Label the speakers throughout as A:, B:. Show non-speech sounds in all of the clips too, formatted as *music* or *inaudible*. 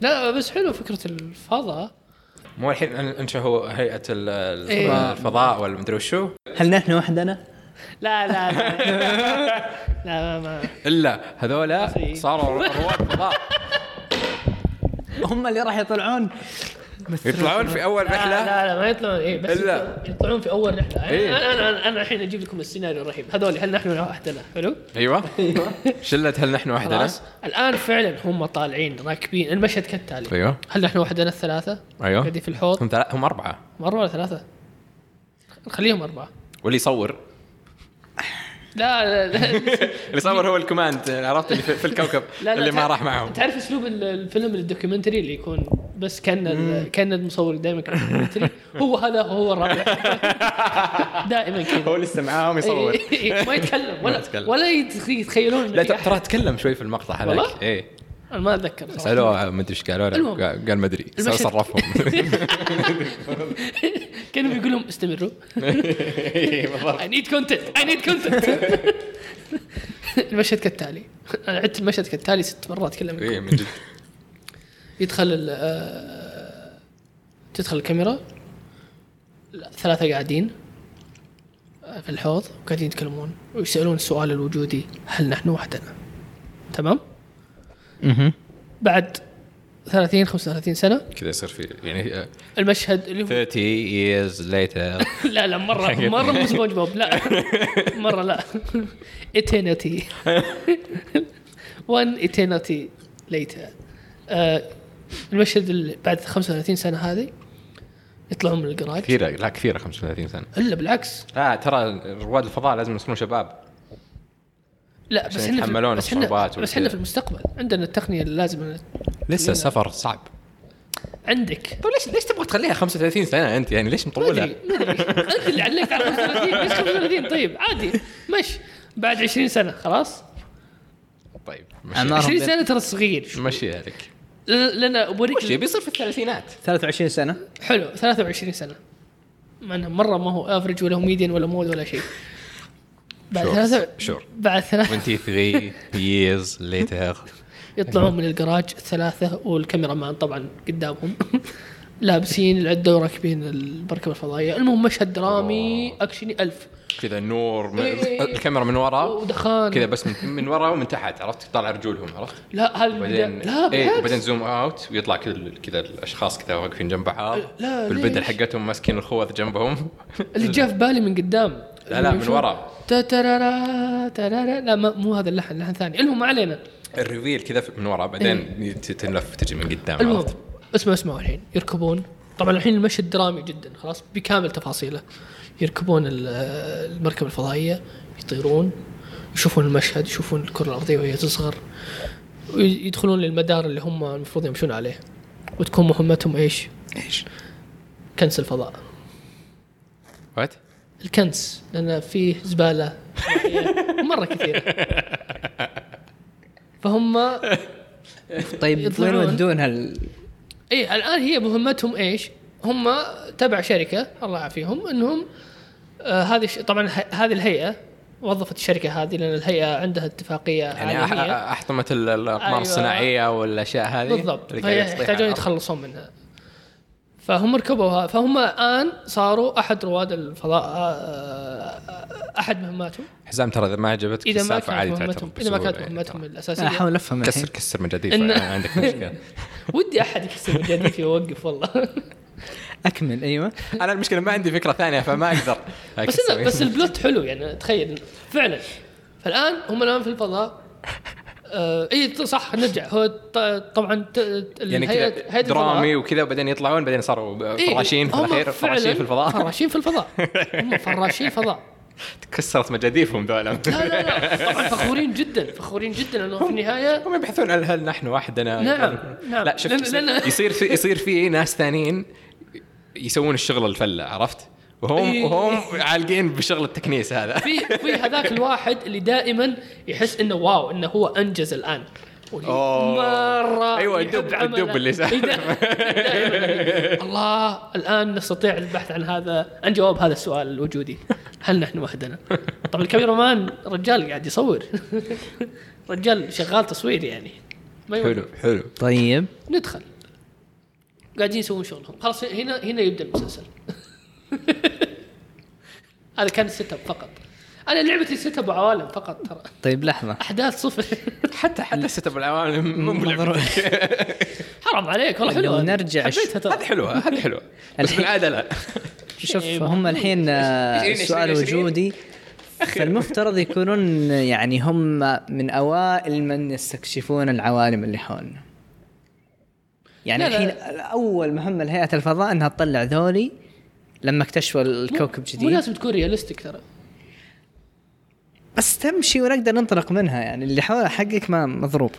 A: لا بس حلو فكره الفضاء
B: مو الحين أن- انشأوا هيئه ال-
A: إيه.
B: الفضاء الفضاء ولا مدري وشو
C: هل نحن وحدنا؟
A: لا لا *laughs* لا لا ما, ما.
B: الا هذولا
A: *laughs* إيه.
B: صاروا رواد فضاء
C: هم اللي راح يطلعون
B: يطلعون في اول
A: لا
B: رحله
A: لا, لا ما يطلعون اي بس
B: إلا.
A: يطلعون في اول رحله
B: إيه.
A: انا انا انا, أنا الحين اجيب لكم السيناريو الرهيب هذول هل نحن وحدنا حلو؟ *laughs*
B: ايوه شله هل نحن وحدنا
A: أيوة. خلاص الان فعلا هم طالعين راكبين المشهد كالتالي
B: ايوه
A: هل نحن وحدنا الثلاثه؟
B: ايوه
A: قاعدين في الحوض
B: هم ثلاث هم اربعه
A: مره ولا ثلاثه؟ خليهم اربعه
B: واللي يصور
A: لا لا, لا
B: *laughs* اللي يصور هو الكوماند عرفت اللي في في الكوكب
A: *laughs* لا لا
B: اللي ما
A: تعرف-
B: راح معهم
A: تعرف اسلوب ال- الفيلم الدوكيومنتري اللي يكون بس كان ال- كان المصور دائما كان دوكيومنتري هو هذا هو
B: *laughs*
A: الرابع دائما
B: هو
A: كذا
B: اللي لسه معاهم يصور
A: إيه، إيه، إيه، *laughs* ما يتكلم
B: ما
A: ولا
B: يتكلم.
A: ولا يتخ- يتخيلون إنه
B: لا
A: في
B: ت-
A: أحد.
B: ترى تكلم شوي في المقطع هذاك
A: والله؟
B: ايه
A: انا ما اتذكر صراحة. *laughs*
B: سالوه ما ادري ايش قالوا له
A: المهم.
B: قال قال ما ادري
A: المشهد.
B: صرفهم
A: *laughs*
B: *laughs*
A: كانوا بيقول لهم
B: *laughs*
A: استمروا
B: إيه،
A: اي نيد كونتنت اي نيد
B: *laughs*
A: كونتنت *laughs* المشهد كالتالي انا عدت المشهد كالتالي ست مرات كلها منكم.
B: ايه من جد
A: يدخل ال- آه، تدخل الكاميرا لا، ثلاثة قاعدين آه، في الحوض وقاعدين يتكلمون ويسألون السؤال الوجودي هل نحن وحدنا؟ تمام؟ بعد 30 35 سنة
B: كذا يصير في
A: *laughs*
B: يعني آه،
A: المشهد اللي هو
B: 30 years later
A: لا لا مرة مرة مو سبونج بوب
B: *laughs*
A: لا مرة لا اتينتي وان اتينتي ليتر آه، المشهد اللي بعد 35 سنة هذه يطلعون من الجراج
B: كثيره لا كثيره 35 سنه
A: الا بالعكس
B: لا آه، ترى رواد الفضاء لازم يصيرون شباب
A: لا بس
B: عشان
A: احنا في-
B: يتحملون
A: بس احنا
B: الصعوبات
A: بس احنا
B: وكذا.
A: في المستقبل عندنا التقنية اللي لازم
B: لسه السفر صعب
A: عندك
B: طيب ليش ليش تبغى تخليها 35 سنه انت يعني ليش
A: ما
B: مطولها؟
A: ادري ما ادري انت اللي علقت على 35 ليش 35 طيب عادي مش بعد 20 سنة خلاص
B: طيب
A: 20
C: عمارهم
A: سنة ترى صغير
B: مشي ذلك
A: لان بوريك
B: مشي بيصير في الثلاثينات
C: 23 سنه
A: حلو 23 سنه ما أنا مره ما هو افرج ولا هو ميديان ولا مود ولا شيء بعد
B: شور.
A: ثلاثة
B: شور.
A: بعد
B: *laughs*
A: ثلاثة
B: 23 years later
A: يطلعون من الجراج الثلاثة والكاميرا مان طبعا قدامهم *laughs* لابسين العدة وراكبين المركبة الفضائية المهم مشهد درامي أكشني ألف
B: كذا النور من
A: إيه.
B: الكاميرا من ورا
A: ودخان
B: كذا بس من- من ورا ومن تحت عرفت طالع رجولهم عرفت
A: لا هذا
B: وبعدين
A: لا
B: ايه
A: بالعكس
B: وبعدين زوم اوت ويطلع كذا كذا الاشخاص كذا واقفين جنب بعض
A: لا،
B: بالبدل
A: ليش؟
B: حقتهم ماسكين الخوذ جنبهم
A: اللي جاء في بالي من قدام
B: لا، لا، من ورا.
A: تترارا ترارا لا ما- مو هذا اللحن لحن ثاني المهم ما علينا
B: *laughs* الريفيل كذا من ورا بعدين ت- تنلف تجي من قدام
A: إيه. المهم
B: عرفت
A: اسمعوا اسمعوا الحين يركبون طبعا الحين المشهد درامي جدا خلاص بكامل تفاصيله يركبون ال- المركبه الفضائيه يطيرون يشوفون المشهد يشوفون الكره الارضيه وهي تصغر وي- يدخلون للمدار اللي هم المفروض يمشون عليه وتكون مهمتهم ايش؟
B: ايش؟
A: كنس الفضاء
B: وات؟
A: الكنس لان فيه زباله مره كثيره فهم
C: طيب وين
A: يطلعون.
C: يودون هال
A: اي الان إيه، هي مهمتهم ايش؟ هم تبع شركه الله يعافيهم انهم آه هذه الش- طبعا ه- هذه الهيئه وظفت الشركه هذه لان الهيئه عندها اتفاقيه
B: يعني
A: يعني
B: أح-
A: عالميه
B: احطمه ال- الاقمار
A: أيوة.
B: الصناعيه والاشياء هذه
A: بالضبط
B: اللي قاعدة تطيح على
A: فيحتاجون
B: الأرض.
A: يتخلصون منها فهم ركبوها فهم الان صاروا احد رواد الفضاء آه، احد مهماتهم
B: حزام ترى اذا ما عجبتك
A: اذا ما
B: السالفه عادي
A: كانت
B: تعترف
A: مهمتهم اذا ما
B: بسهولة
A: كانت
B: يعني
A: مهمتهم
B: ترى.
C: انا
A: الاساسيه
C: احاول افهم
B: طيب. كسر
C: الحين
B: كسر مجاديف
A: إن-
B: عندك
A: *laughs*
B: مشكله
A: ودي احد يكسر مجاديفي ويوقف
B: *laughs*
A: والله
C: اكمل ايوه
B: انا المشكله ما عندي فكره ثانيه فما اقدر
A: بس إنه بس البلوت حلو يعني تخيل فعلا فالان هم الان في الفضاء آه اي صح نرجع هو ط- طبعا ت-
B: *laughs* يعني
A: الهيئة-
B: كذا
A: هيئة الفضاء-
B: درامي وكذا وبعدين يطلعون بعدين صاروا
A: إيه،
B: فراشين في
A: هم
B: الاخير فراشين
A: فعلاً
B: في الفضاء *laughs*
A: فراشين في الفضاء هم فراشين فضاء
B: كسرت مجاديفهم
A: *laughs*
B: ذولا
A: لا لا لا طبعا فخورين جدا فخورين جدا انه في النهايه
B: هم يبحثون عن هل نحن وحدنا
A: نعم، نعم.
B: لا شوف
A: لأن- لأن-
B: يصير في يصير في ناس ثانيين يسوون الشغل الفله عرفت وهم
A: إيه.
B: وهم عالقين بشغل التكنيس هذا
A: في في هذاك الواحد اللي دائما يحس انه واو انه هو انجز الان واللي
B: أوه.
A: مره
B: أيوة،
A: يحب
B: الدب-
A: عمله.
B: الدب اللي سأل.
A: إيه، دائماً- دائماً. الله الان نستطيع البحث عن هذا عن جواب هذا السؤال الوجودي هل نحن وحدنا؟ طبعا الكاميرا مان رجال قاعد يصور *laughs* رجال شغال تصوير يعني ما يوقف.
B: حلو
C: طيب
A: ندخل قاعدين يسوون شغلهم خلاص هنا هنا يبدا المسلسل *laughs* هذا كان السيت اب فقط انا لعبتي سيت اب وعوالم فقط ترى
C: طيب لحظه
A: احداث صفر *laughs*
B: حتى حتى سيت اب العوالم مو بلعبة.
A: حرام عليك والله حلوه
C: لو نرجع ش-
A: حبيتها
B: هذه
A: ترى
B: حلوه هذه حلوه بس
C: الحين-
B: بالعاده لا
C: شوف
A: شيء
C: هم الحين آه،
B: عشرين-
C: السؤال
B: عشرين- عشرين.
C: وجودي فالمفترض يكونون يعني هم من اوائل من يستكشفون العوالم اللي حولنا. يعني
A: لا لا.
C: الحين اول مهمه لهيئه الفضاء انها تطلع ذولي لما اكتشفوا الكوكب
A: مو
C: جديد
A: لازم تكون ريالستيك ترى
C: بس تمشي ونقدر ننطلق منها يعني اللي حولها حقك ما مضروب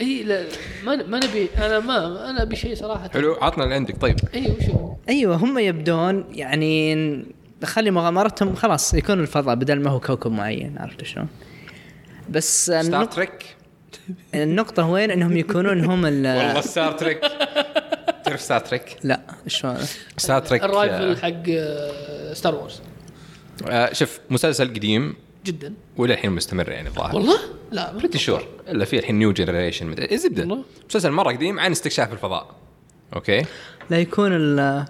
A: اي لا ما ما نبي انا ما انا ابي شيء صراحه
B: حلو عطنا اللي عندك طيب
A: اي وش هو؟
C: ايوه هم يبدون يعني ن- خلي مغامرتهم خلاص يكون الفضاء بدل ما هو كوكب معين عرفت شلون؟ بس آه،
B: ستار
C: النق-
B: تريك
C: النقطة وين انهم يكونون هم ال
B: والله ستار تريك تعرف ستار تريك
C: لا شلون
B: ستار تريك
A: الرايفل حق آه، ستار وورز
B: آه، شوف مسلسل قديم
A: جدا
B: والى الحين مستمر يعني الظاهر
A: والله لا ما
B: بريتي شور الا في الحين نيو جنريشن مدري الزبده
A: والله.
B: مسلسل مره قديم عن استكشاف الفضاء اوكي
C: لا يكون ال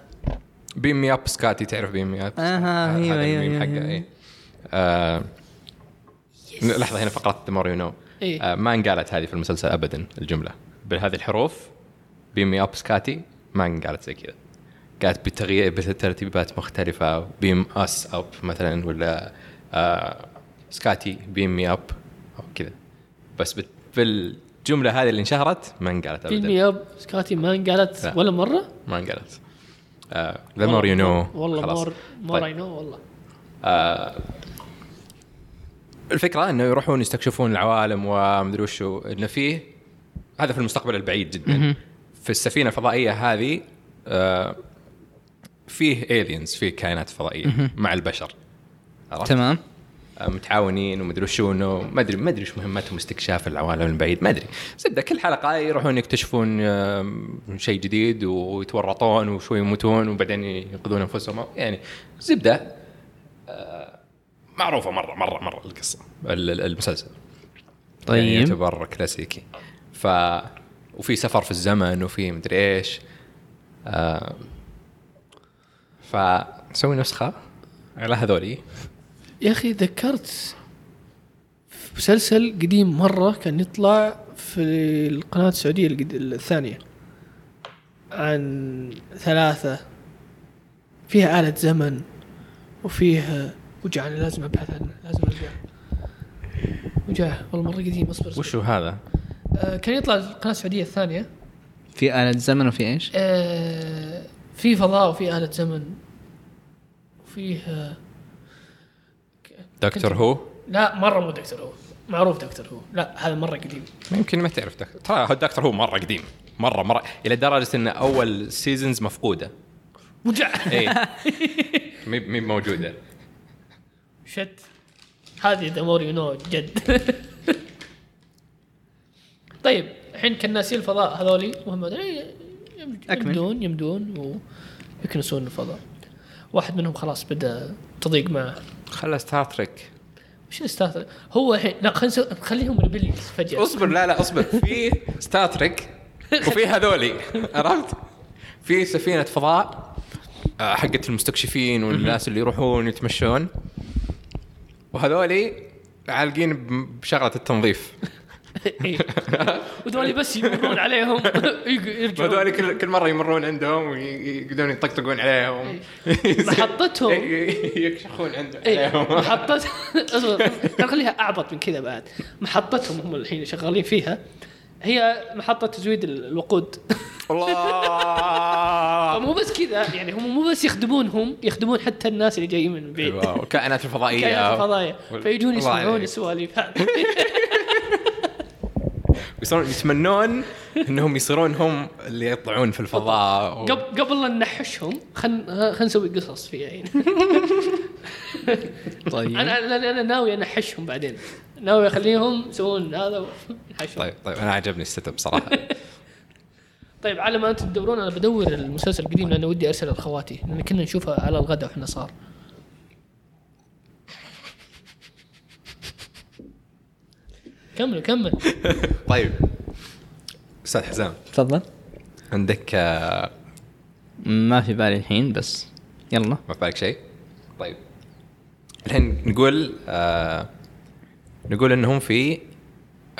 B: بيم مي اب سكاتي تعرف بيم مي اب
C: آها، أيوة، أيوة،
B: الميم
C: أيوة،
B: حقه
C: أيوة.
B: اي آه، لحظه هنا فقره ذا مور يو نو
A: إيه.
B: آه، ما انقالت هذه في المسلسل ابدا الجمله بهذه الحروف بيم مي اب سكاتي ما انقالت زي كذا قالت بتغيير بترتيبات مختلفه بيم اس اب مثلا ولا آه، سكاتي بيم مي اب او كذا بس بت- بالجمله هذه اللي انشهرت ما انقالت
A: في
B: ابدا
A: مياب سكاتي ما انقالت
B: لا.
A: ولا مره
B: ما انقالت آه، ذا مور يو نو
A: والله مور
B: طيب.
A: مور اي نو والله
B: الفكره انه يروحون يستكشفون العوالم ومدري وشو انه فيه هذا في المستقبل البعيد جدا في السفينه الفضائيه هذه آه، فيه الينز فيه كائنات فضائيه مع البشر عرفت؟
C: تمام
B: آه، متعاونين ومدري وشو انه ما ادري ما ادري ايش مهمتهم استكشاف العوالم البعيد ما ادري زبده كل حلقه يروحون يكتشفون آم، شيء جديد ويتورطون وشوي يموتون وبعدين ينقذون انفسهم يعني زبده آه، معروفه مره مره مره القصه ال- ال- المسلسل
C: طيب.
B: يعني يعتبر كلاسيكي ف وفي سفر في الزمن وفي مدري ايش آه، فسوي نسخه على هذولي
A: يا اخي ذكرت في مسلسل قديم مره كان يطلع في القناه السعوديه القد- الثانيه عن ثلاثه فيها آلة زمن وفيها وجع انا لازم ابحث عنه لازم ارجع وجع والله مره قديم اصبر, أصبر.
B: وشو هذا؟
A: آه كان يطلع في القناه السعوديه الثانيه
C: في آلة زمن وفي ايش؟
A: آه في فضاء وفي آلة زمن وفيه
B: دكتور هو
A: لا مره مو دكتور هو معروف دكتور هو لا هذا مره قديم
B: يمكن ما تعرف دكتور ترى هو دكتور هو مره قديم مره مره الى درجه ان اول سيزونز مفقوده
A: وجع
B: اي إيه. مي مي موجوده
A: شت هذه ذا مور يو نو جد *laughs* طيب الحين كان ناسين الفضاء هذولي مهمة إيه، يم-
C: أكمل.
A: يمدون يمدون ويكنسون الفضاء واحد منهم خلاص بدا تضيق معه
B: خلى ستار تريك
A: وش نستاثر هو الحين لا خلينا نسوي- خليهم ريبليز فجاه
B: اصبر لا لا اصبر في ستار تريك وفي هذولي عرفت؟ في سفينه فضاء آه، حقت المستكشفين والناس اللي يروحون يتمشون وهذولي عالقين بم- بشغله التنظيف
A: *laughs* إيه. وذولي بس يمرون عليهم *laughs* يق- يرجعون
B: هذول كل كل مره يمرون عندهم ويقدرون يطقطقون عليهم *laughs*
A: محطتهم.
B: يكشخون عند-
A: إيه، *laughs*
B: عليهم
A: محطة اصبر ترى خليها اعبط من كذا بعد محطتهم هم الحين شغالين فيها هي محطة تزويد ال- الوقود
B: الله
A: مو بس كذا يعني هم مو بس يخدمونهم يخدمون حتى الناس اللي جايين من بعيد
B: واو كائنات الفضائيه
A: كائنات الفضايا فيجون
B: الله
A: يسمعون
B: عليك.
A: السواليف *laughs*
B: يصيرون يتمنون انهم يصيرون هم اللي يطلعون في الفضاء و-
A: قبل قبل لا ننحشهم خل خل نسوي قصص فيها يعني
C: طيب
A: انا انا *laughs* أنا ناوي انحشهم بعدين ناوي اخليهم يسوون هذا ونحشهم
B: طيب طيب انا عجبني السيت اب صراحه
A: طيب على ما انتم تدورون انا بدور المسلسل القديم لانه ودي ارسل لخواتي لان كنا نشوفها على الغداء واحنا صار كمل كمل
B: طيب استاذ حزام
C: تفضل
B: عندك آه،
C: ما في بالي الحين بس يلا
B: ما في بالك شيء؟ طيب الحين نقول آه نقول انهم في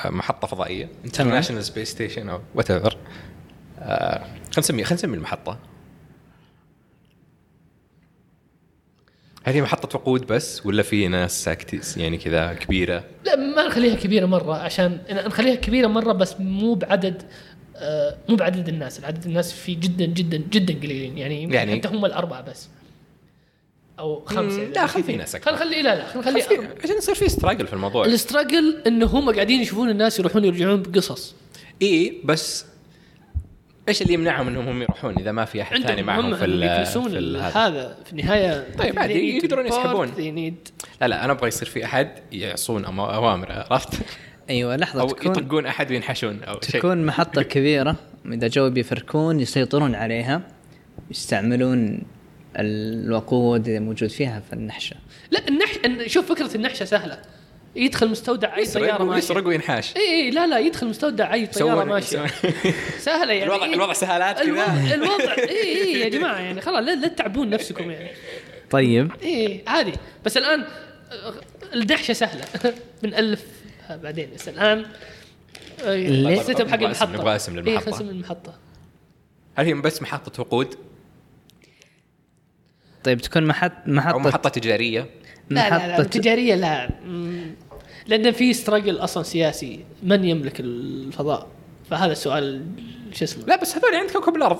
B: آه، محطه فضائيه
C: تمام.
B: انترناشونال سبيس ستيشن او وات ايفر آه، خلينا نسمي خلينا نسمي المحطه هل هي محطة وقود بس ولا في ناس ساكت يعني كذا كبيرة؟
A: لا ما نخليها كبيره مره عشان نخليها كبيره مره بس مو بعدد آه، مو بعدد الناس العدد الناس فيه جدا جدا جدا قليلين يعني يمكن
B: يعني-
A: حتى هم الاربعه بس او خمسه
B: مم،
A: إذا
B: لا، خلي
A: كثير.
B: في ناس أكثر.
A: خلينا نخلي لا لا خلينا
B: في-
A: نخلي
B: عشان يصير في ستراجل في الموضوع
A: الاستراجل ان هم قاعدين يشوفون الناس يروحون يرجعون بقصص
B: اي بس ايش اللي يمنعهم انهم هم يروحون اذا ما في احد ثاني
A: عندهم
B: معهم
A: هم
B: في ال-
A: يجلسون
B: في ال- هذا
A: هذا في النهايه
B: طيب، عادي،
A: they need to
B: يقدرون
A: depart,
B: يسحبون.
A: they need-
B: لا لا انا ابغى يصير في احد يعصون أما- اوامر
C: *laughs*
B: عرفت؟
C: ايوه لحظه
B: او
C: تكون
B: يطقون احد وينحشون او شيء
C: تكون محطه كبيره اذا جو بيفركون يسيطرون عليها يستعملون الوقود اللي موجود فيها في النحشه
A: لا النحش إن- شوف فكره النحشه سهله يدخل مستودع اي
B: يسرق
A: طياره ماشيه
B: ويسرق وينحاش
A: اي اي إيه، لا لا يدخل مستودع اي طياره
B: سوون- *laughs*
A: ماشيه
B: سوون-
A: سهله يعني
B: الوضع
A: إيه.
B: الوضع سهالات كذا
A: الوضع الوضع اي اي يا جماعه يعني خلاص لا لا تتعبون نفسكم يعني
C: طيب
A: اي عادي بس الان آه، الدحشه *laughs* سهله بنالف بعدين بس الان آه،
C: ليه؟
A: السيت اب حق
B: نبغى اسم-
A: المحطه
B: نبغى اسم
A: اي
B: للمحطة.
A: خلينا إيه، اسم المحطه
B: هل هي بس محطة وقود
C: طيب تكون محط
B: او
C: محطه
B: محطة تجارية
A: لا لا لا
C: محطه
A: تجاريه لا مم. لان في استراجل اصلا سياسي من يملك الفضاء فهذا السؤال شو اسمه
B: لا بس هذول عند كوكب الارض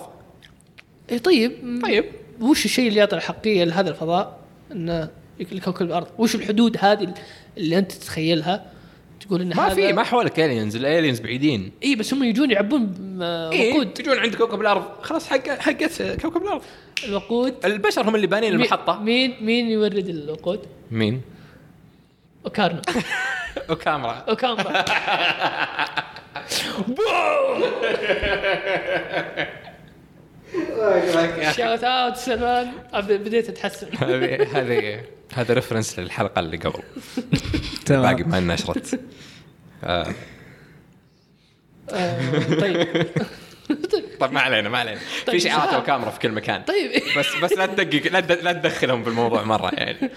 A: اي طيب مم.
B: طيب.
A: وش الشيء اللي يعطي الحقيه لهذا الفضاء انه لكوكب الارض؟ وش الحدود هذه اللي انت تتخيلها تقول ان
B: ما
A: هذا
B: في ما حولك الينز الالينز بعيدين
A: اي بس هم يجون يعبون م-
B: إيه
A: وقود
B: تجون عند كوكب الارض خلاص حق حقت كوكب الارض
A: الوقود
B: البشر هم اللي بانين
A: مي-
B: المحطة
A: مين مين يورد الوقود؟
B: مين؟
A: اوكارنا
B: *laughs* وكاميرا *laughs*
A: اوكامبا شاوت اوت سلمان أب- بديت اتحسن
B: *laughs* هذه هذه هذا ريفرنس للحلقه اللي قبل باقي
C: تمام
B: ما نشرت آه.
A: آه، طيب
B: طيب ما علينا ما علينا في
A: طيب،
B: شعارات
A: شباب.
B: وكاميرا في كل مكان
A: طيب *laughs*
B: بس بس لا تدقق لا تد- لا تدخلهم بالموضوع مره يعني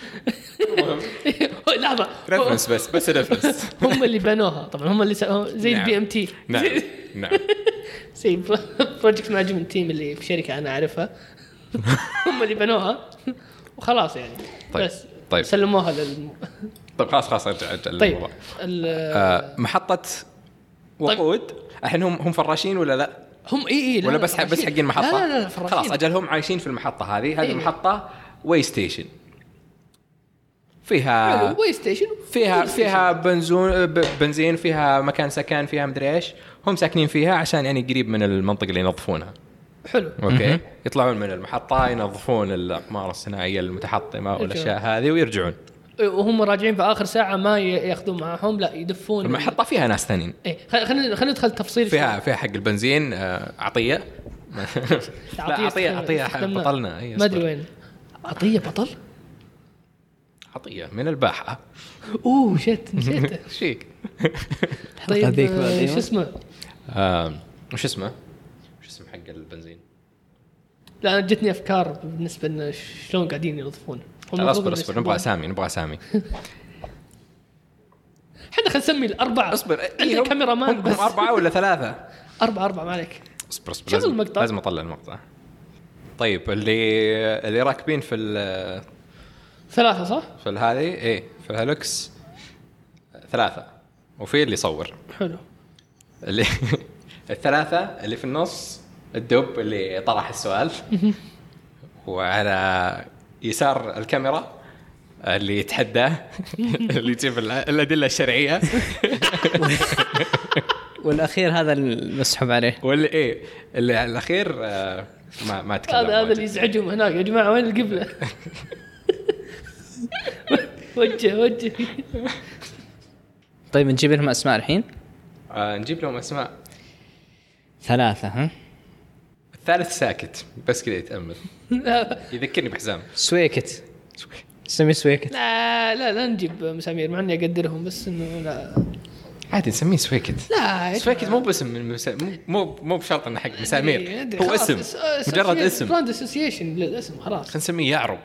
A: لحظه هو-
B: ريفرنس بس بس ريفرنس
A: *laughs* هم اللي بنوها طبعا هم اللي س... هم زي
B: نعم.
A: البي ام تي
B: نعم نعم
A: *laughs* زي بروجكت مانجمنت تيم اللي في شركه انا
B: *laughs*
A: اعرفها هم اللي بنوها وخلاص يعني
B: طيب،
A: بس
B: طيب.
A: سلموها لل
B: طيب خلاص خلاص ارجع ارجع
A: طيب
B: للموضوع
A: ال...
B: آه، محطه وقود الحين هم هم فراشين ولا لا؟
A: هم اي اي طيب. لا
B: ولا
A: لا،
B: بس بس
A: فراشين.
B: حقين المحطه؟
A: لا لا لا فراشين.
B: خلاص اجلهم عايشين في المحطه هذه هذه
A: إيه.
B: المحطه واي ستيشن فيها
A: حلو، واي ستيشن
B: فيها
A: واي ستيشن.
B: فيها بنزون ب- بنزين فيها مكان سكن فيها مدري ايش هم ساكنين فيها عشان يعني قريب من المنطقه اللي ينظفونها
A: حلو
B: اوكي يطلعون من المحطه ينظفون الاقمار الصناعيه المتحطمه والاشياء هذه ويرجعون
A: إيه، وهم راجعين في اخر ساعه ما ي- ياخذون معهم لا يدفون
B: المحطه فيها ناس ثانيين
A: ايه خل- خلينا خلينا ندخل تفصيل
B: فيها فيها حق البنزين آه، عطيه لا عطيه عطيه حق
A: استخدمنا.
B: بطلنا إي،
A: ما
B: أصبر.
A: ادري وين عطيه بطل؟
B: عطيه من الباحه
A: اوه شت نسيته
B: *laughs* ايش فيك؟
A: طيب
C: هذيك
A: آه،
C: بعد، أيوة.
A: شو اسمه؟
B: آم، وش اسمه؟ وش اسم حق البنزين؟
A: لا أنا جتني افكار بالنسبه لنا شلون قاعدين ينظفون هم
B: لا،
A: المفروض
B: اصبر
A: إنه
B: اصبر نبغى
A: يسحبون.
B: اسامي نبغى اسامي
A: احنا خلينا نسمي الاربعه
B: اصبر إيه،
A: عندي
B: هم-
A: كاميرا مان
B: هم هم
A: بس
B: اربعه ولا ثلاثه؟
A: اربعه اربعه ما عليك
B: اصبر اصبر
A: شغل
B: لازم
A: المقطع.
B: لازم اطلع المقطع طيب اللي اللي راكبين في ال
A: ثلاثه صح؟
B: في هذه ايه في الهلوكس ثلاثة وفي اللي يصور
A: حلو
B: اللي *laughs* الثلاثة اللي في النص الدب اللي طرح السؤال
A: *laughs*
B: وعلى يسار الكاميرا
A: *laughs*
B: اللي يتحداه اللي يجيب الأ- الأدلة الشرعية
C: والاخير هذا المسحوب عليه
B: واللي ايه اللي على الأخير آه، ما ما تكلم
A: هذا هذا
B: واجد.
A: اللي يزعجهم هناك يا جماعه وين القبله؟ وجه وجه
C: طيب نجيب لهم اسماء الحين
B: آه، نجيب لهم أسماء
C: ثلاثه ها
B: الثالث ساكت بس كذا يتامل
A: لا
B: يذكرني بحزام
C: سويكت سمي سويكت
A: لا لا, لا نجيب مسامير مع اني اقدرهم بس انه لا
B: عادي نسميه سويكت
A: لا يا
B: سويكت
A: جماعة.
B: مو باسم من المس... مو- مو مو بشرط انه حق
A: يعني
B: مسامير
A: أدري،
B: هو
A: خلاص،
B: اسم
A: اس- اس-
B: مجرد
A: association-
B: اسم خلينا
A: براند اسوسيشن للاسم خلاص
B: نسميه يعرب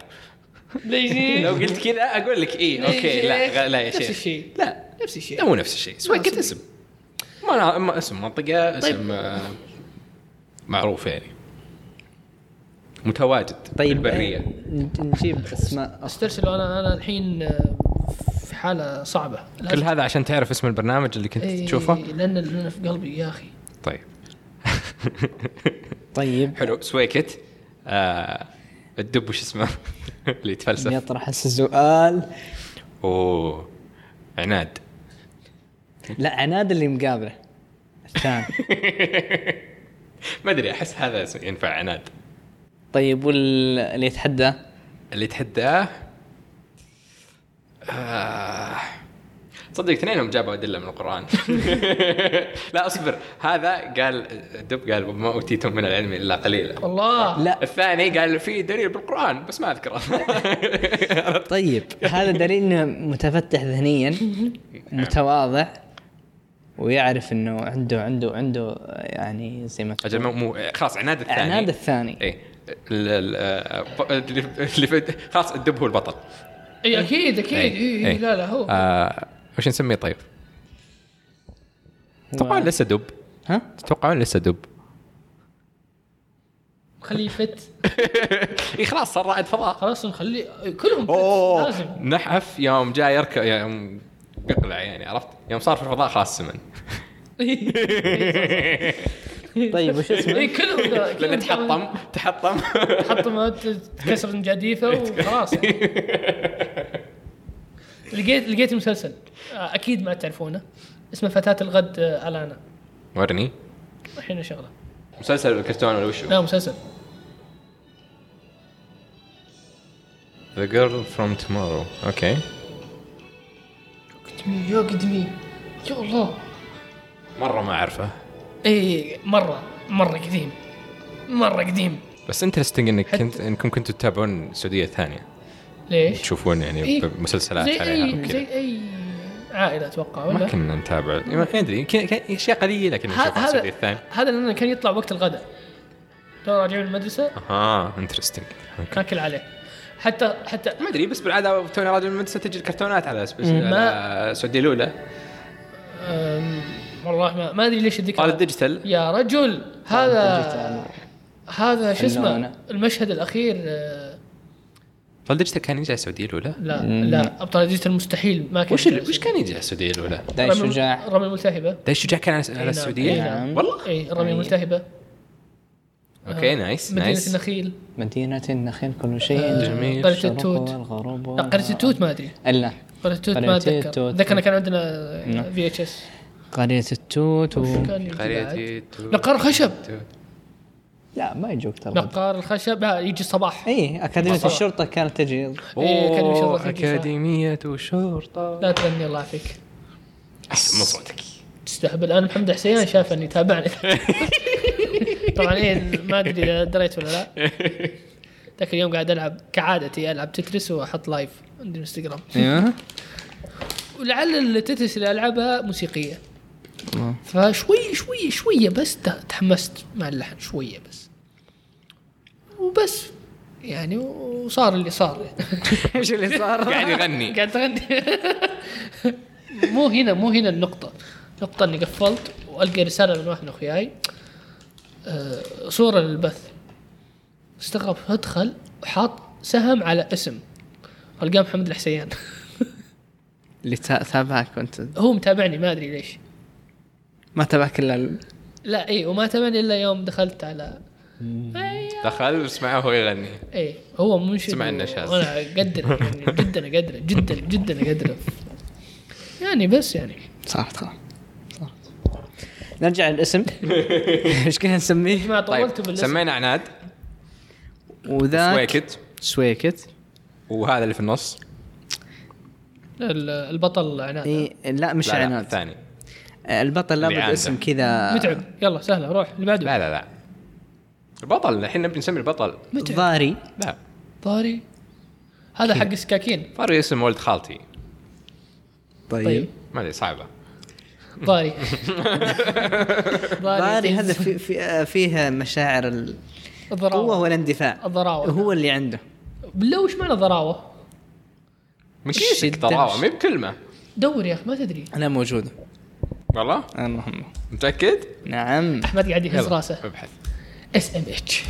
A: ليش
B: *laughs* لو قلت كذا اقول لك اي اوكي لا غ- لا يا
A: إيه. نفس
B: شيخ
A: الشيء
B: لا
A: نفس الشيء
B: لا مو نفس الشيء سويكت اسم ما أنا ما اسم منطقه اسم
A: طيب.
B: آه، معروف يعني متواجد طيب البريه
A: إيه.
C: ن- نجيب اسماء أص-
A: استرسلوا انا انا الحين آه، في حاله صعبه لازم-
B: كل هذا عشان تعرف اسم البرنامج اللي كنت
A: إيه،
B: تشوفه
A: لان لان في قلبي يا اخي
B: طيب
C: طيب
B: حلو سويكت آه الدب وش اسمه *laughs* اللي يتفلسف
C: يطرح السؤال
B: اوه عناد
C: لا عناد اللي مقابله
B: *laughs*
C: الثاني
B: ما ادري احس هذا اسم ينفع عناد
C: طيب واللي يتحدى
B: اللي تحداه آه. صدق اثنينهم جابوا ادله من القران *laughs* لا اصبر هذا قال الدب قال وما اوتيتم من العلم الا قليلا
A: والله
C: لا
B: الثاني قال في دليل بالقران بس ما *laughs* اذكره
C: طيب هذا دليل انه متفتح
B: *laughs*
C: ذهنيا متواضع ويعرف انه عنده عنده عنده يعني زي ما
B: اجل مو- مو خلاص عناد الثاني إيه.
C: عناد الثاني
B: اي ال- ال- آه، ب- اللي اللي في- خلاص الدب هو البطل
A: اي اكيد اكيد
B: إيه،
A: إيه،
B: إيه.
A: إيه، لا لا هو
B: آه، وش نسميه طيب؟
C: و-
B: طبعا لسه دب
C: ها
B: تتوقعون لسه دب
A: خليفه
B: اي إيه، خلاص صار رائد فضاء
A: خلاص نخليه كلهم
B: اوه
A: لازم
B: نحف يوم جاء يركب يوم بيقلع يعني عرفت؟ يوم صار في الفضاء خلاص سمن
C: *laughs* طيب وش اسمه؟
A: اي إيه،
C: *laughs*
A: كلهم ذا- كلهم
B: لانه تحطم تحطم
A: تحطم تكسر جديفه
C: *laughs*
A: وخلاص يعني. لقيت لقيت مسلسل آه، اكيد ما تعرفونه اسمه فتاة الغد آه، الانا
B: ورني
A: الحين شغله
B: مسلسل الكرتون ولا وشو؟
A: لا مسلسل
B: ذا جيرل فروم تومورو اوكي
A: قدمي يا قدمي يا الله
B: مره ما اعرفه
A: اي مره مره إيه، قديم مره قديم
B: بس انترستنج انك كنت انكم كنتوا تتابعون سعوديه ثانيه
A: ليش؟
B: تشوفون يعني
A: إيه.
B: مسلسلات
A: زي
B: عليها
A: اي
B: وكذا
A: زي اي عائله اتوقع
B: ما
A: ولا
B: كنا نتابع ما ادري يمكن كان اشياء قليله كنا
A: ه-
B: نشوفها السعوديه الثانيه
A: هذا هذا لانه كان يطلع وقت الغداء تو راجعين من المدرسه
B: اها انترستنج
A: ناكل عليه حتى حتى
B: ما ادري بس بالعاده توني راجع من المدرسه تجي الكرتونات على سبيشل
A: إيه، ما-
B: على السعوديه الاولى
A: أم، والله ما, ما ادري ليش
B: قال
A: الذكرى
B: الديجيتال
A: يا رجل
C: طيب،
A: هذا هذا شو اسمه
C: فنانة. المشهد
A: المشهد الاخير آه،
B: قال الديجيتال كان يجي على السعوديه الاولى
A: لا لا ابطال ديجيتال المستحيل ما كان
B: وش ال- وش كان يجي على السعوديه الاولى؟
C: داي
A: رمي-
C: شجاع
A: رمي الملتهبه
B: ده الشجاع كان على- على
A: إي
B: السعوديه؟
A: نعم.
B: والله؟ إيه.
A: اي رمي
C: أي.
A: الملتهبه آه،
B: اوكي نايس
A: مدينه
B: نايس
A: النخيل
C: مدينة النخيل كل شيء
B: جميل.
A: قرية
C: الشرق
A: التوت.
C: والغروب
A: لا قريه التوت ما ادري
C: الا
A: قريه التوت
C: قرية
A: ما اتذكر
C: التوت.
A: ذكرنا كان عندنا
C: نعم.
A: في اتش اس
C: قرية التوت و...
B: قريتي تو-
A: نقار خشب
B: تو-
C: لا ما يجوك ترى
A: نقار الخشب لا يجي الصباح
C: اي اكاديمية
A: مصر.
C: الشرطة كانت تجي
A: إيه، أكاديمية شرطة
B: أوه،
A: تجي، صح.
B: اكاديميه شرطه
A: لا تغني الله يعافيك
B: احسن من
A: *laughs*
B: صوتك
A: تستهبل انا محمد حسين شاف اني تابعني طبعا ايه ما ادري اذا دريت ولا لا ذاك اليوم قاعد العب كعادتي العب تترس واحط لايف عندي الانستغرام
C: ايوه
A: ولعل التترس اللي العبها موسيقيه فشوي شوي شويه بس ت- تحمست مع اللحن شويه بس وبس يعني وصار اللي صار
C: ايش اللي صار؟
B: *laughs* قاعد يغني
A: قاعد تغني مو هنا مو هنا النقطة النقطة اني قفلت والقى رسالة من واحد من اخوياي آه، صورة للبث استغرب ادخل وحاط سهم على اسم القاه محمد الحسيان
C: اللي تا- تابعك وانت
A: *laughs* هو متابعني ما ادري ليش
C: ما تابعك الا ال-
A: لا اي وما تابعني الا يوم دخلت على
B: دخل وسمعه وهو يغني
A: اي هو منشد
B: سمع
A: و-
B: النشاز.
A: وانا اقدره يعني جدا اقدره جدا جدا اقدره يعني بس يعني
C: صارت خلاص صارت. نرجع *laughs* للاسم ايش كنا
A: يا
C: نسميه؟
A: جماعه طولتوا
B: طيب
A: بالاسم
B: سمينا عناد
C: وذاك
B: سويكت
C: سويكت
B: وهذا اللي في النص
A: ال- البطل عناد
C: إيه لا مش
B: لا، لا،
C: عناد
B: الثاني
C: البطل لابد
B: لعنده.
C: اسم كذا
A: متعب يلا سهله روح اللي بعده
B: لا لا لا البطل الحين نبي نسمي البطل
A: متعب
C: ضاري طيب.
B: لا
A: طاري هذا حق سكاكين
B: فاري اسم ولد خالتي
A: طيب
B: ما ادري صعبه
A: ضاري
C: ضاري *laughs* هذا في في فيها مشاعر القوه
A: الضراوه
C: والاندفاع
A: الضراوه
C: هو اللي عنده
A: بالله وش معنى ضراوه؟
B: من كيسك
C: شدة.
B: ضراوه ما هي بكلمه
A: دور يا اخي ما تدري
C: انا موجوده
B: والله
C: اللهم
B: متاكد؟
C: نعم
A: احمد قاعد يهز
B: يلا،
A: راسه
B: ابحث
A: اس ام اتش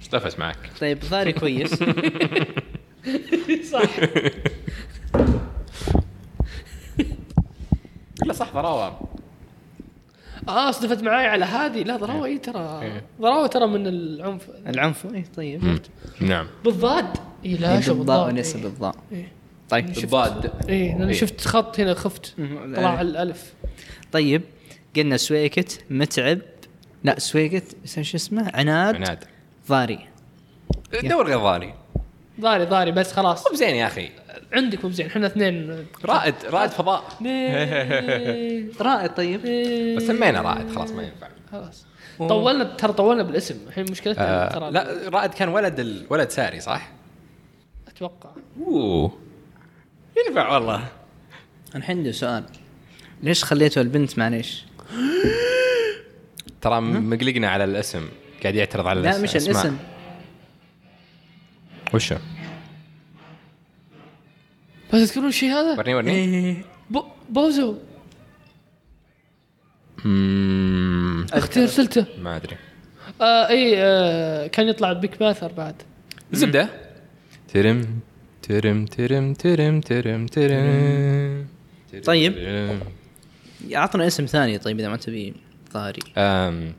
B: ايش قفز معك؟
C: طيب ضاري *laughs* كويس
A: *laughs* صح
B: لا صح ضراوه
A: اه صدفت معاي على هذه لا ضراوه اي ترى
B: إيه.
A: ضراوه ترى من العنف
C: العنف اي طيب
B: نعم
A: بالضاد اي لا شوف
C: بالضاء
A: بالضاد
C: وليس
A: إيه.
C: بالضاء
A: إيه.
C: طيب
A: شفت.
B: الضاد
A: ايه انا
B: إيه.
A: شفت خط هنا خفت
C: مم،
A: طلع
C: إيه.
A: الالف
C: طيب قلنا سويكت متعب لا سويكت بس شو اسمه عناد
B: عناد
C: ضاري
B: إيه، دور غير ضاري
A: ضاري ضاري بس خلاص
B: مو بزين يا اخي
A: عندك مو زين احنا اثنين
B: رائد رائد فضاء
A: إيه.
C: رائد طيب
A: إيه.
B: بس سمينا رائد خلاص ما ينفع
A: خلاص طولنا ترى طولنا بالاسم الحين مشكلتنا
B: آه،
A: ترى
B: لا رائد كان ولد ال- ولد ساري صح؟
A: اتوقع
B: اوه ينفع والله
C: الحين عندي سؤال ليش خليته البنت معليش؟
B: ترى مقلقنا على الاسم قاعد يعترض على
C: لا
B: الأس-
C: مش
B: أسماء.
C: الاسم
B: وشو؟
A: بس تذكرون الشيء هذا
B: ورني ورني
A: بو بوزو
B: مم،
A: اختي ارسلته
B: ما ادري
A: آه اي آه كان يطلع بيك باثر بعد
B: زبده ترم ترم ترم ترم ترم ترم
C: طيب.
B: ترم.
C: اعطنا اسم ثاني طيب اذا ما تبي ضاري
B: أم،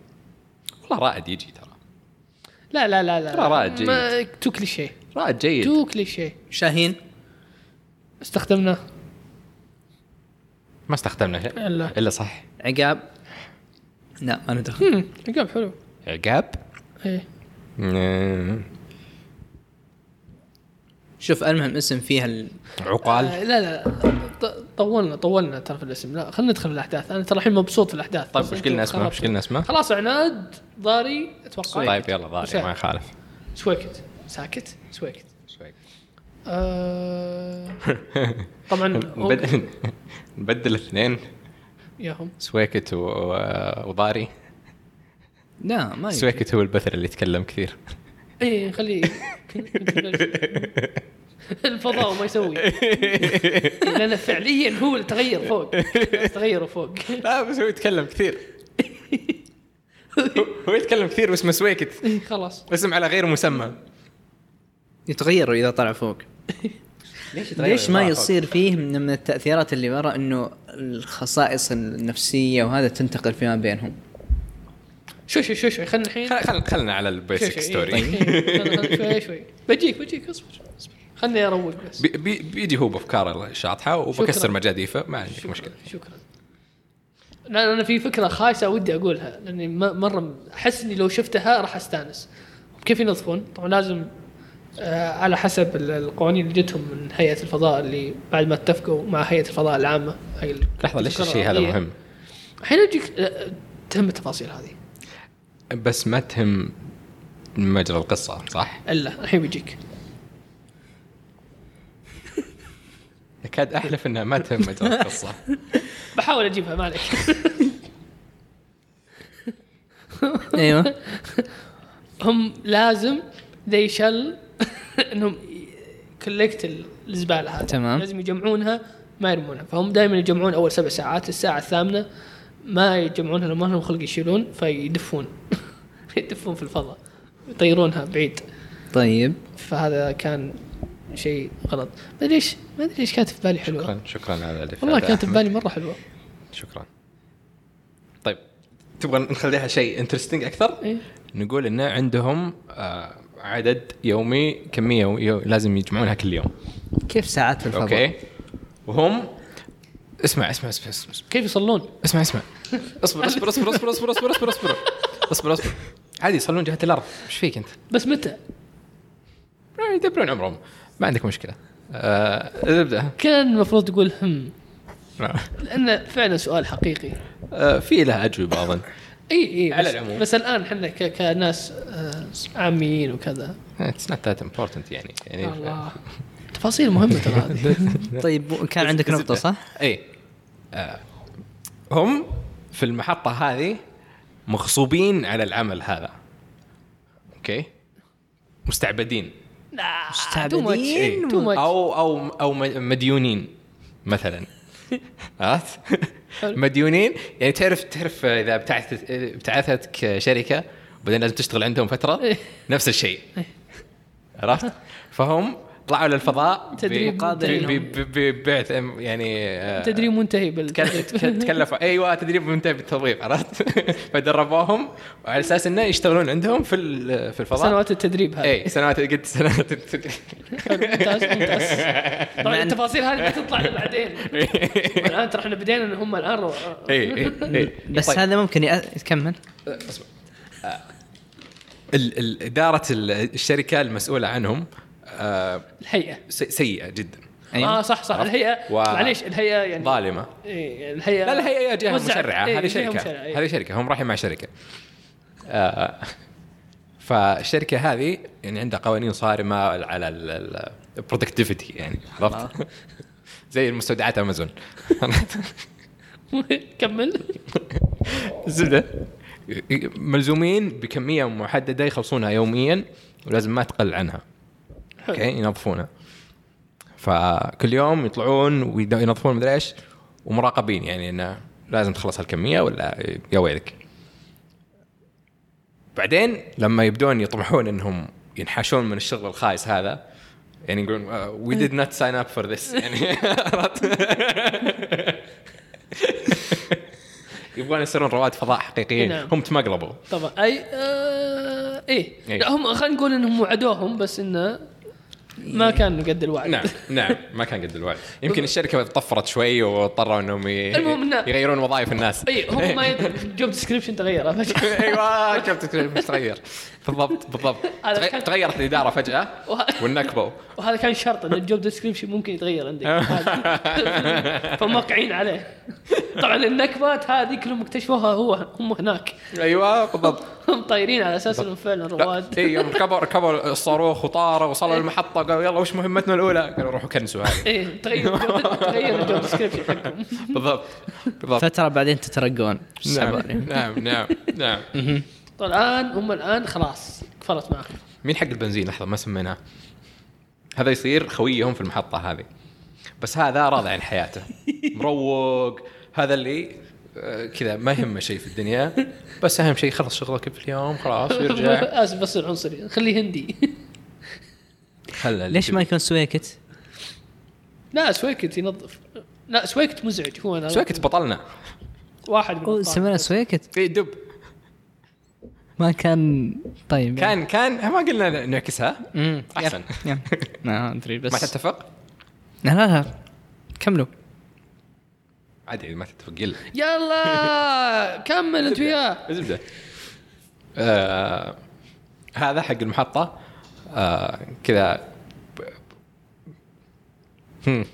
B: والله رائد يجي ترى
A: لا لا لا لا
B: ترى رائد جيد.
A: ما- تو كليشيه
B: رائد جيد
A: تو كليشيه
C: شاهين
A: استخدمناه
B: ما استخدمنا شيء
A: إلا.
B: الا صح
C: عقاب لا ما له دخل
A: امم عقاب حلو
B: عقاب
A: ايه
B: مم،
C: شوف المهم اسم فيها ال...
B: عقال
A: آه لا لا ط- طولنا طولنا ترى في الاسم لا خلينا ندخل في الاحداث انا ترى الحين مبسوط في الاحداث
B: طيب وش قلنا اسمه؟ وش قلنا اسمه؟
A: خلاص عناد ضاري اتوقع
B: طيب يلا ضاري
A: سويكت.
B: ما يخالف
A: سويكت ساكت سويكت آه طبعا هو-
B: نبدل نبدل اثنين
A: يا هم
B: سويكت و... وضاري
C: لا ما يمكن.
B: سويكت هو البثر اللي يتكلم كثير
A: ايه خليه *laughs* الفضاء وما يسوي لان فعليا هو اللي تغير فوق الناس تغيروا فوق
B: *laughs* لا بس هو يتكلم كثير هو- هو يتكلم كثير واسمه سويكت
A: إيه، خلاص
B: اسم على غير *laughs* مسمى
C: يتغيروا اذا طلع فوق *laughs* ليش ما يصير فيه من من التاثيرات اللي برا انه الخصائص النفسيه وهذا تنتقل فيما *laughs* بينهم
A: شو شو شو شو خلينا الحين
B: خل- خل- خلنا على
A: شوي
B: البيسك
A: شوي،
B: ستوري
A: إيه، خلنا- خلنا شوي شوي بجيك بجيك اصبر اصبر خلني اروق بس
B: بي- بي- بيجي هو بافكار الشاطحه وبكسر
A: شكراً.
B: مجاديفه ما عندك
A: شكرا
B: مشكله
A: شكرا لا انا في فكره خايسه ودي اقولها لاني م- مره احس اني لو شفتها راح استانس كيف ينظفون؟ طبعا لازم آه على حسب ال- القوانين اللي جتهم من هيئه الفضاء اللي بعد ما اتفقوا مع هيئه الفضاء العامه هاي ال-
B: لحظه ليش
A: الفكرة
B: الشيء هذا
A: الأرضية.
B: مهم؟
A: الحين اجيك آه، تهم التفاصيل هذه
B: بس ما تهم مجرى القصه صح؟
A: الا الحين بيجيك
B: اكاد احلف انها ما تهم
A: *laughs*
B: مجرى القصه
A: بحاول اجيبها ما عليك
C: ايوه
A: هم لازم they shall *laughs* انهم كولكت الزباله هذه
C: تمام.
A: لازم يجمعونها ما يرمونها فهم دائما يجمعون اول سبع ساعات الساعه الثامنه ما يجمعونها لما لهم خلق يشيلون فيدفون *laughs* يدفون في الفضاء يطيرونها بعيد
C: طيب
A: فهذا كان شيء غلط ما ادري ليش ما ادري ليش كانت في بالي حلوه
B: شكرا شكرا على الإفادة
A: والله كانت في
B: أحمد.
A: بالي مره حلوه
B: شكرا طيب تبغى نخليها شيء انترستنج اكثر؟
A: إيه.
B: نقول انه عندهم آه، عدد يومي كميه يو- يو- لازم يجمعونها كل يوم
C: كيف ساعات في الفضاء
B: اوكي وهم اسمع اسمع اسمع اسمع
A: كيف يصلون؟
B: اسمع اسمع اصبر اصبر اصبر اصبر اصبر اصبر اصبر اصبر اصبر اصبر عادي يصلون جهه الارض ايش فيك انت؟
A: بس متى؟
B: يعني يدبرون عمرهم ما عندك مشكله آه، ابدا
A: كان المفروض تقول هم
B: آه،
A: لانه فعلا سؤال حقيقي
B: آه، في لها اجوبه *laughs* اظن
A: اي اي
B: على
A: بس-
B: العموم.
A: بس الان احنا ك- كناس آه، عاميين وكذا
B: اتس نوت ذات امبورتنت يعني يعني
A: الله
B: *laughs*
A: تفاصيل مهمه ترى هذه *laughs*
C: طيب كان عندك نقطه صح
B: اي إيه. آه، هم في المحطة هذه مغصوبين على العمل هذا اوكي مستعبدين
C: مستعبدين
B: إيه،
A: تو ماتش
B: او او او م- مديونين
A: *laughs*
B: مثلا عرفت؟ مديونين يعني تعرف تعرف اذا ابتعثت ابتعثتك شركه بعدين لازم تشتغل عندهم
A: إيه.
B: فتره نفس الشيء
A: *laughs*
B: عرفت؟ فهم طلعوا للفضاء ب-
A: تدريب
B: ب-
A: منتهي.
B: ب- ببعث أم- يعني آه،
A: تدريب منتهي بال *laughs*
B: تكل- تك- تكلفوا ايوه تدريب منتهي بالتوظيف عرفت؟ *laughs* فدربوهم على اساس انه يشتغلون عندهم في ال- في الفضاء
A: سنوات التدريب هذا
B: اي سنوات قلت سنوات التدريب
A: *laughs* ممتاز
B: *laughs*
A: ممتاز طبعا التفاصيل هذه ما تطلع إلا بعدين الان ترى احنا بدينا ان هم الان رو-
B: اي
A: *laughs*
B: اي اي
C: بس
B: إيه، طيب.
C: هذا ممكن يكمل
B: اصبر آه، ال- ال- اداره ال- الشركه المسؤوله عنهم آه،
A: الهيئه
B: سي- سيئه جدا
C: أيوة.
A: اه صح صح الهيئه
B: أيوة. و-
A: معليش الهيئه يعني
B: ظالمه
A: إيه، الهيئه
B: لا الهيئه جهه
A: وزعت-
B: مشرعه
A: إيه،
B: هذه
A: جهة
B: شركه
A: مشرعة، إيه.
B: هذه شركه هم رايحين مع شركه آه، فالشركه هذه يعني عندها قوانين صارمه على البرودكتيفيتي يعني
A: آه.
B: عرفت *laughs* زي المستودعات *laughs* امازون
A: *laughs* كمل
B: الزبده ملزومين بكميه محدده يخلصونها يوميا ولازم ما تقل عنها
A: حلو.
B: اوكي ينظفونها فكل يوم يطلعون وينظفون مدري ايش ومراقبين يعني انه لازم تخلص هالكميه ولا يا ويلك بعدين لما يبدون يطمحون انهم ينحاشون من الشغل الخايس هذا يعني يقولون وي ديد نوت ساين اب فور ذس يعني *laughs* عرفت؟ يبغون يصيرون رواد فضاء حقيقيين
A: نعم.
B: هم تمقلبوا
A: طبعا اي آه ايه
B: إيه.
A: لا هم خلينا نقول انهم وعدوهم بس انه ما كان قد الوعد
B: نعم نعم ما كان قد الوعد يمكن الشركه طفرت شوي واضطروا انهم ي-
A: المهم إنه-
B: يغيرون وظائف الناس
A: اي إيه، هم
B: *laughs*
A: ما يدري جوب ديسكربشن تغير *laughs* فجاه
B: ايوه كيف تتغير بالضبط بالضبط
A: *laughs* هذا
B: تغي-
A: كان-
B: تغيرت الاداره فجاه
A: وه-
B: والنكبوا
A: وهذا كان شرط ان الجوب ديسكربشن ممكن يتغير
B: *laughs*
A: عندك فموقعين عليه طبعا النكبات هذه كلهم اكتشفوها هو هم هناك
B: ايوه بالضبط
A: هم طايرين على اساس انهم فعلا
B: لا،
A: رواد
B: اي يوم ركبوا ركبوا الصاروخ وطاروا وصلوا المحطه قالوا يلا وش مهمتنا الاولى؟ قالوا روحوا كنسوا هذه
A: ايه تغير تغير الجوب ديسكربشن حقهم
B: بالضبط بالضبط
C: فتره بعدين تترقون
B: نعم نعم نعم نعم
A: طبعا الان هم الان خلاص كفرت معكم
B: مين حق البنزين لحظه ما سميناه هذا يصير خويهم في المحطه هذه بس هذا راضي عن حياته مروق هذا اللي آه، كذا ما يهمه شيء في الدنيا بس اهم شيء يخلص شغله كيف اليوم خلاص ويرجع
A: *laughs* اسف بس العنصري خليه هندي
B: خلى اللي
C: *laughs* ليش ما يكون سويكت؟
A: لا سويكت ينظف لا سويكت مزعج هو انا
B: سويكت بطلنا
A: واحد من
C: أوه،
A: الأبطال.
C: سمينا سويكت
B: في دب
C: ما كان طيب يعني.
B: كان كان ما قلنا نعكسها *laughs*
C: مم.
B: احسن
C: يا. ما ادري بس
B: ما تتفق
C: لا لا لا كملوا
B: عادي إذا ما تتفق يلا
A: يلا كمل انت
B: *laughs*
A: وياه
B: الزبده آه هذا حق المحطه آه كذا ب- هم،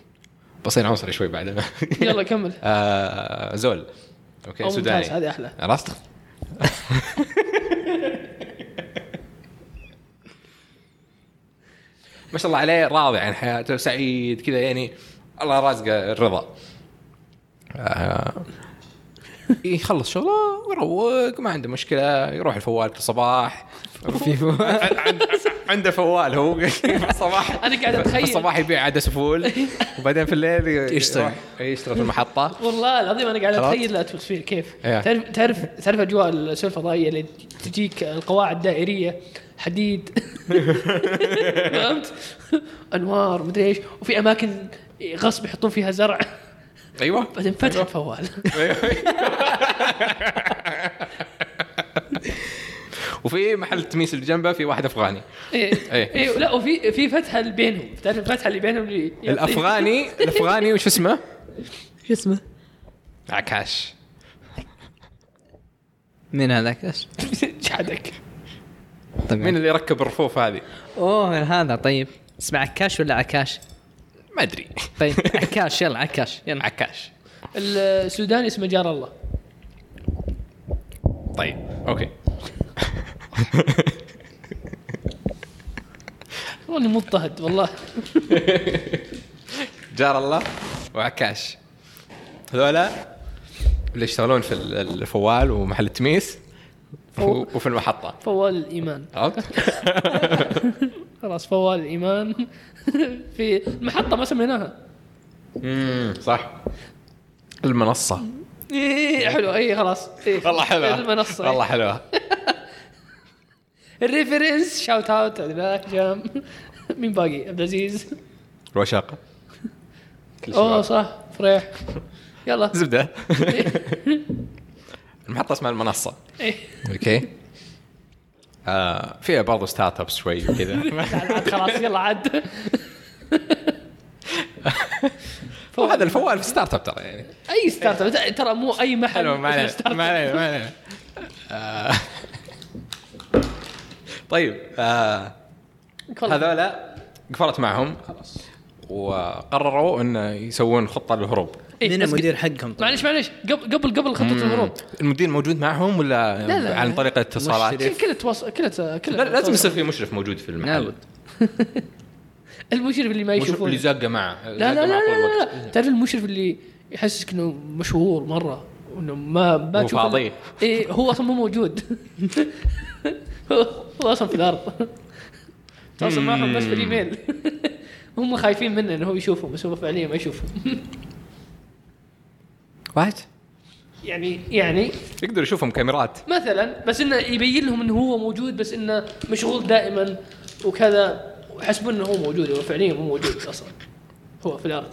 B: بصير عنصري شوي بعد
A: يلا كمل
B: آه زول اوكي
A: أو ممتاز
B: سوداني
A: هذه احلى
B: عرفت؟ ما شاء الله عليه راضي عن حياته سعيد كذا يعني الله رازقه الرضا آه يخلص شغله ويروق ما عنده مشكله يروح الفوال كل صباح *laughs*
C: في فو-
B: عنده- عنده فوال هو *laughs* في الصباح
A: أنا قاعد أتخيل.
B: في الصباح يبيع عدس فول *laughs* وبعدين في الليل
C: يشتغل.
B: يروح- يشتغل في المحطه
A: والله العظيم انا قاعد
B: عرفت؟
A: اتخيل الاتموسفير كيف
B: إيه.
A: تعرف تعرف تعرف اجواء السفن الفضائيه اللي تجيك القواعد دائريه حديد *laughs* فهمت؟ انوار مدري ايش وفي اماكن غصب يحطون فيها زرع
B: ايوه
A: بعدين فتح فوال
B: *laughs* وفي محل تميس اللي جنبه في واحد افغاني
A: ايه
B: إيه.
A: ايه لا وفي في فتحه اللي بينهم تعرف الفتحه اللي بينهم اللي
B: الافغاني الافغاني وش اسمه؟
C: شو اسمه؟
B: عكاش
C: مين هذاك ايش؟
A: *laughs* جحدك
C: طيب
B: مين اللي يركب الرفوف هذه؟
C: اوه هذا طيب اسمه عكاش ولا عكاش؟
B: ما ادري
C: طيب *laughs* عكاش يلا عكاش يلا
B: عكاش
A: السوداني اسمه جار الله
B: طيب اوكي
A: والله مضطهد والله
B: جار الله وعكاش هذولا اللي يشتغلون في ال- الفوال ومحل التميس و- وفي المحطه
A: فوال الايمان
B: عرفت؟
A: خلاص فوال الايمان *laughs* في المحطه ما سميناها
B: امم صح المنصه
A: إيه حلو اي خلاص إيه.
B: والله حلوه
A: المنصه
B: والله
A: والله
B: حلوه
A: الريفرنس شاوت اوت عدنان جام *laughs* مين باقي عبد العزيز
B: *laughs* رشاقه
A: اوه صح فريح يلا
B: *laughs* زبده المحطه اسمها المنصه
A: إيه.
B: اوكي آه فيها برضه ستارت ابس شوي وكذا *laughs*
A: عاد- عاد خلاص يلا عاد
B: وهذا الفوال في ستارت اب ترى يعني
A: اي ستارت اب ترى مو اي محل
B: *laughs* حلو ما علينا *laughs*
A: ستارت اب.
B: ما علينا ما علينا آه. *laughs* طيب آه
A: والله.
B: هذولا قفلت معهم وقرروا انه يسوون خطه للهروب
A: إيه،
C: مين
A: بس ق-
C: المدير حقهم طيب. طبعا؟
A: معليش معليش قبل قبل قبل خطه الهروب
B: المدير موجود معهم ولا
A: لا، لا.
B: عن طريق الاتصالات
C: مشرف.
A: كلها تواصل كلها
B: لا
A: كلها
B: لازم يصير في مشرف موجود في المحل
C: لابد.
A: المشرف اللي ما
B: مشرف
A: يشوفونه
B: اللي زاقه معه
A: لا لا لا لا, لا, لا. تعرف المشرف اللي يحسسك انه مشهور مره انه ما ما
B: هو
A: تشوف إلا-
B: فاضي.
A: إيه هو اصلا مو موجود *laughs* هو هو اصلا في الارض تواصل معهم بس بالايميل *laughs* هم خايفين منه انه هو يشوفهم بس هو فعليا ما يشوفهم
B: وات
A: يعني يعني
B: يقدر يشوفهم كاميرات
A: مثلا بس انه يبين لهم انه هو موجود بس انه مشغول دائما وكذا ويحسبون انه هو موجود هو فعليا مو موجود اصلا هو في الارض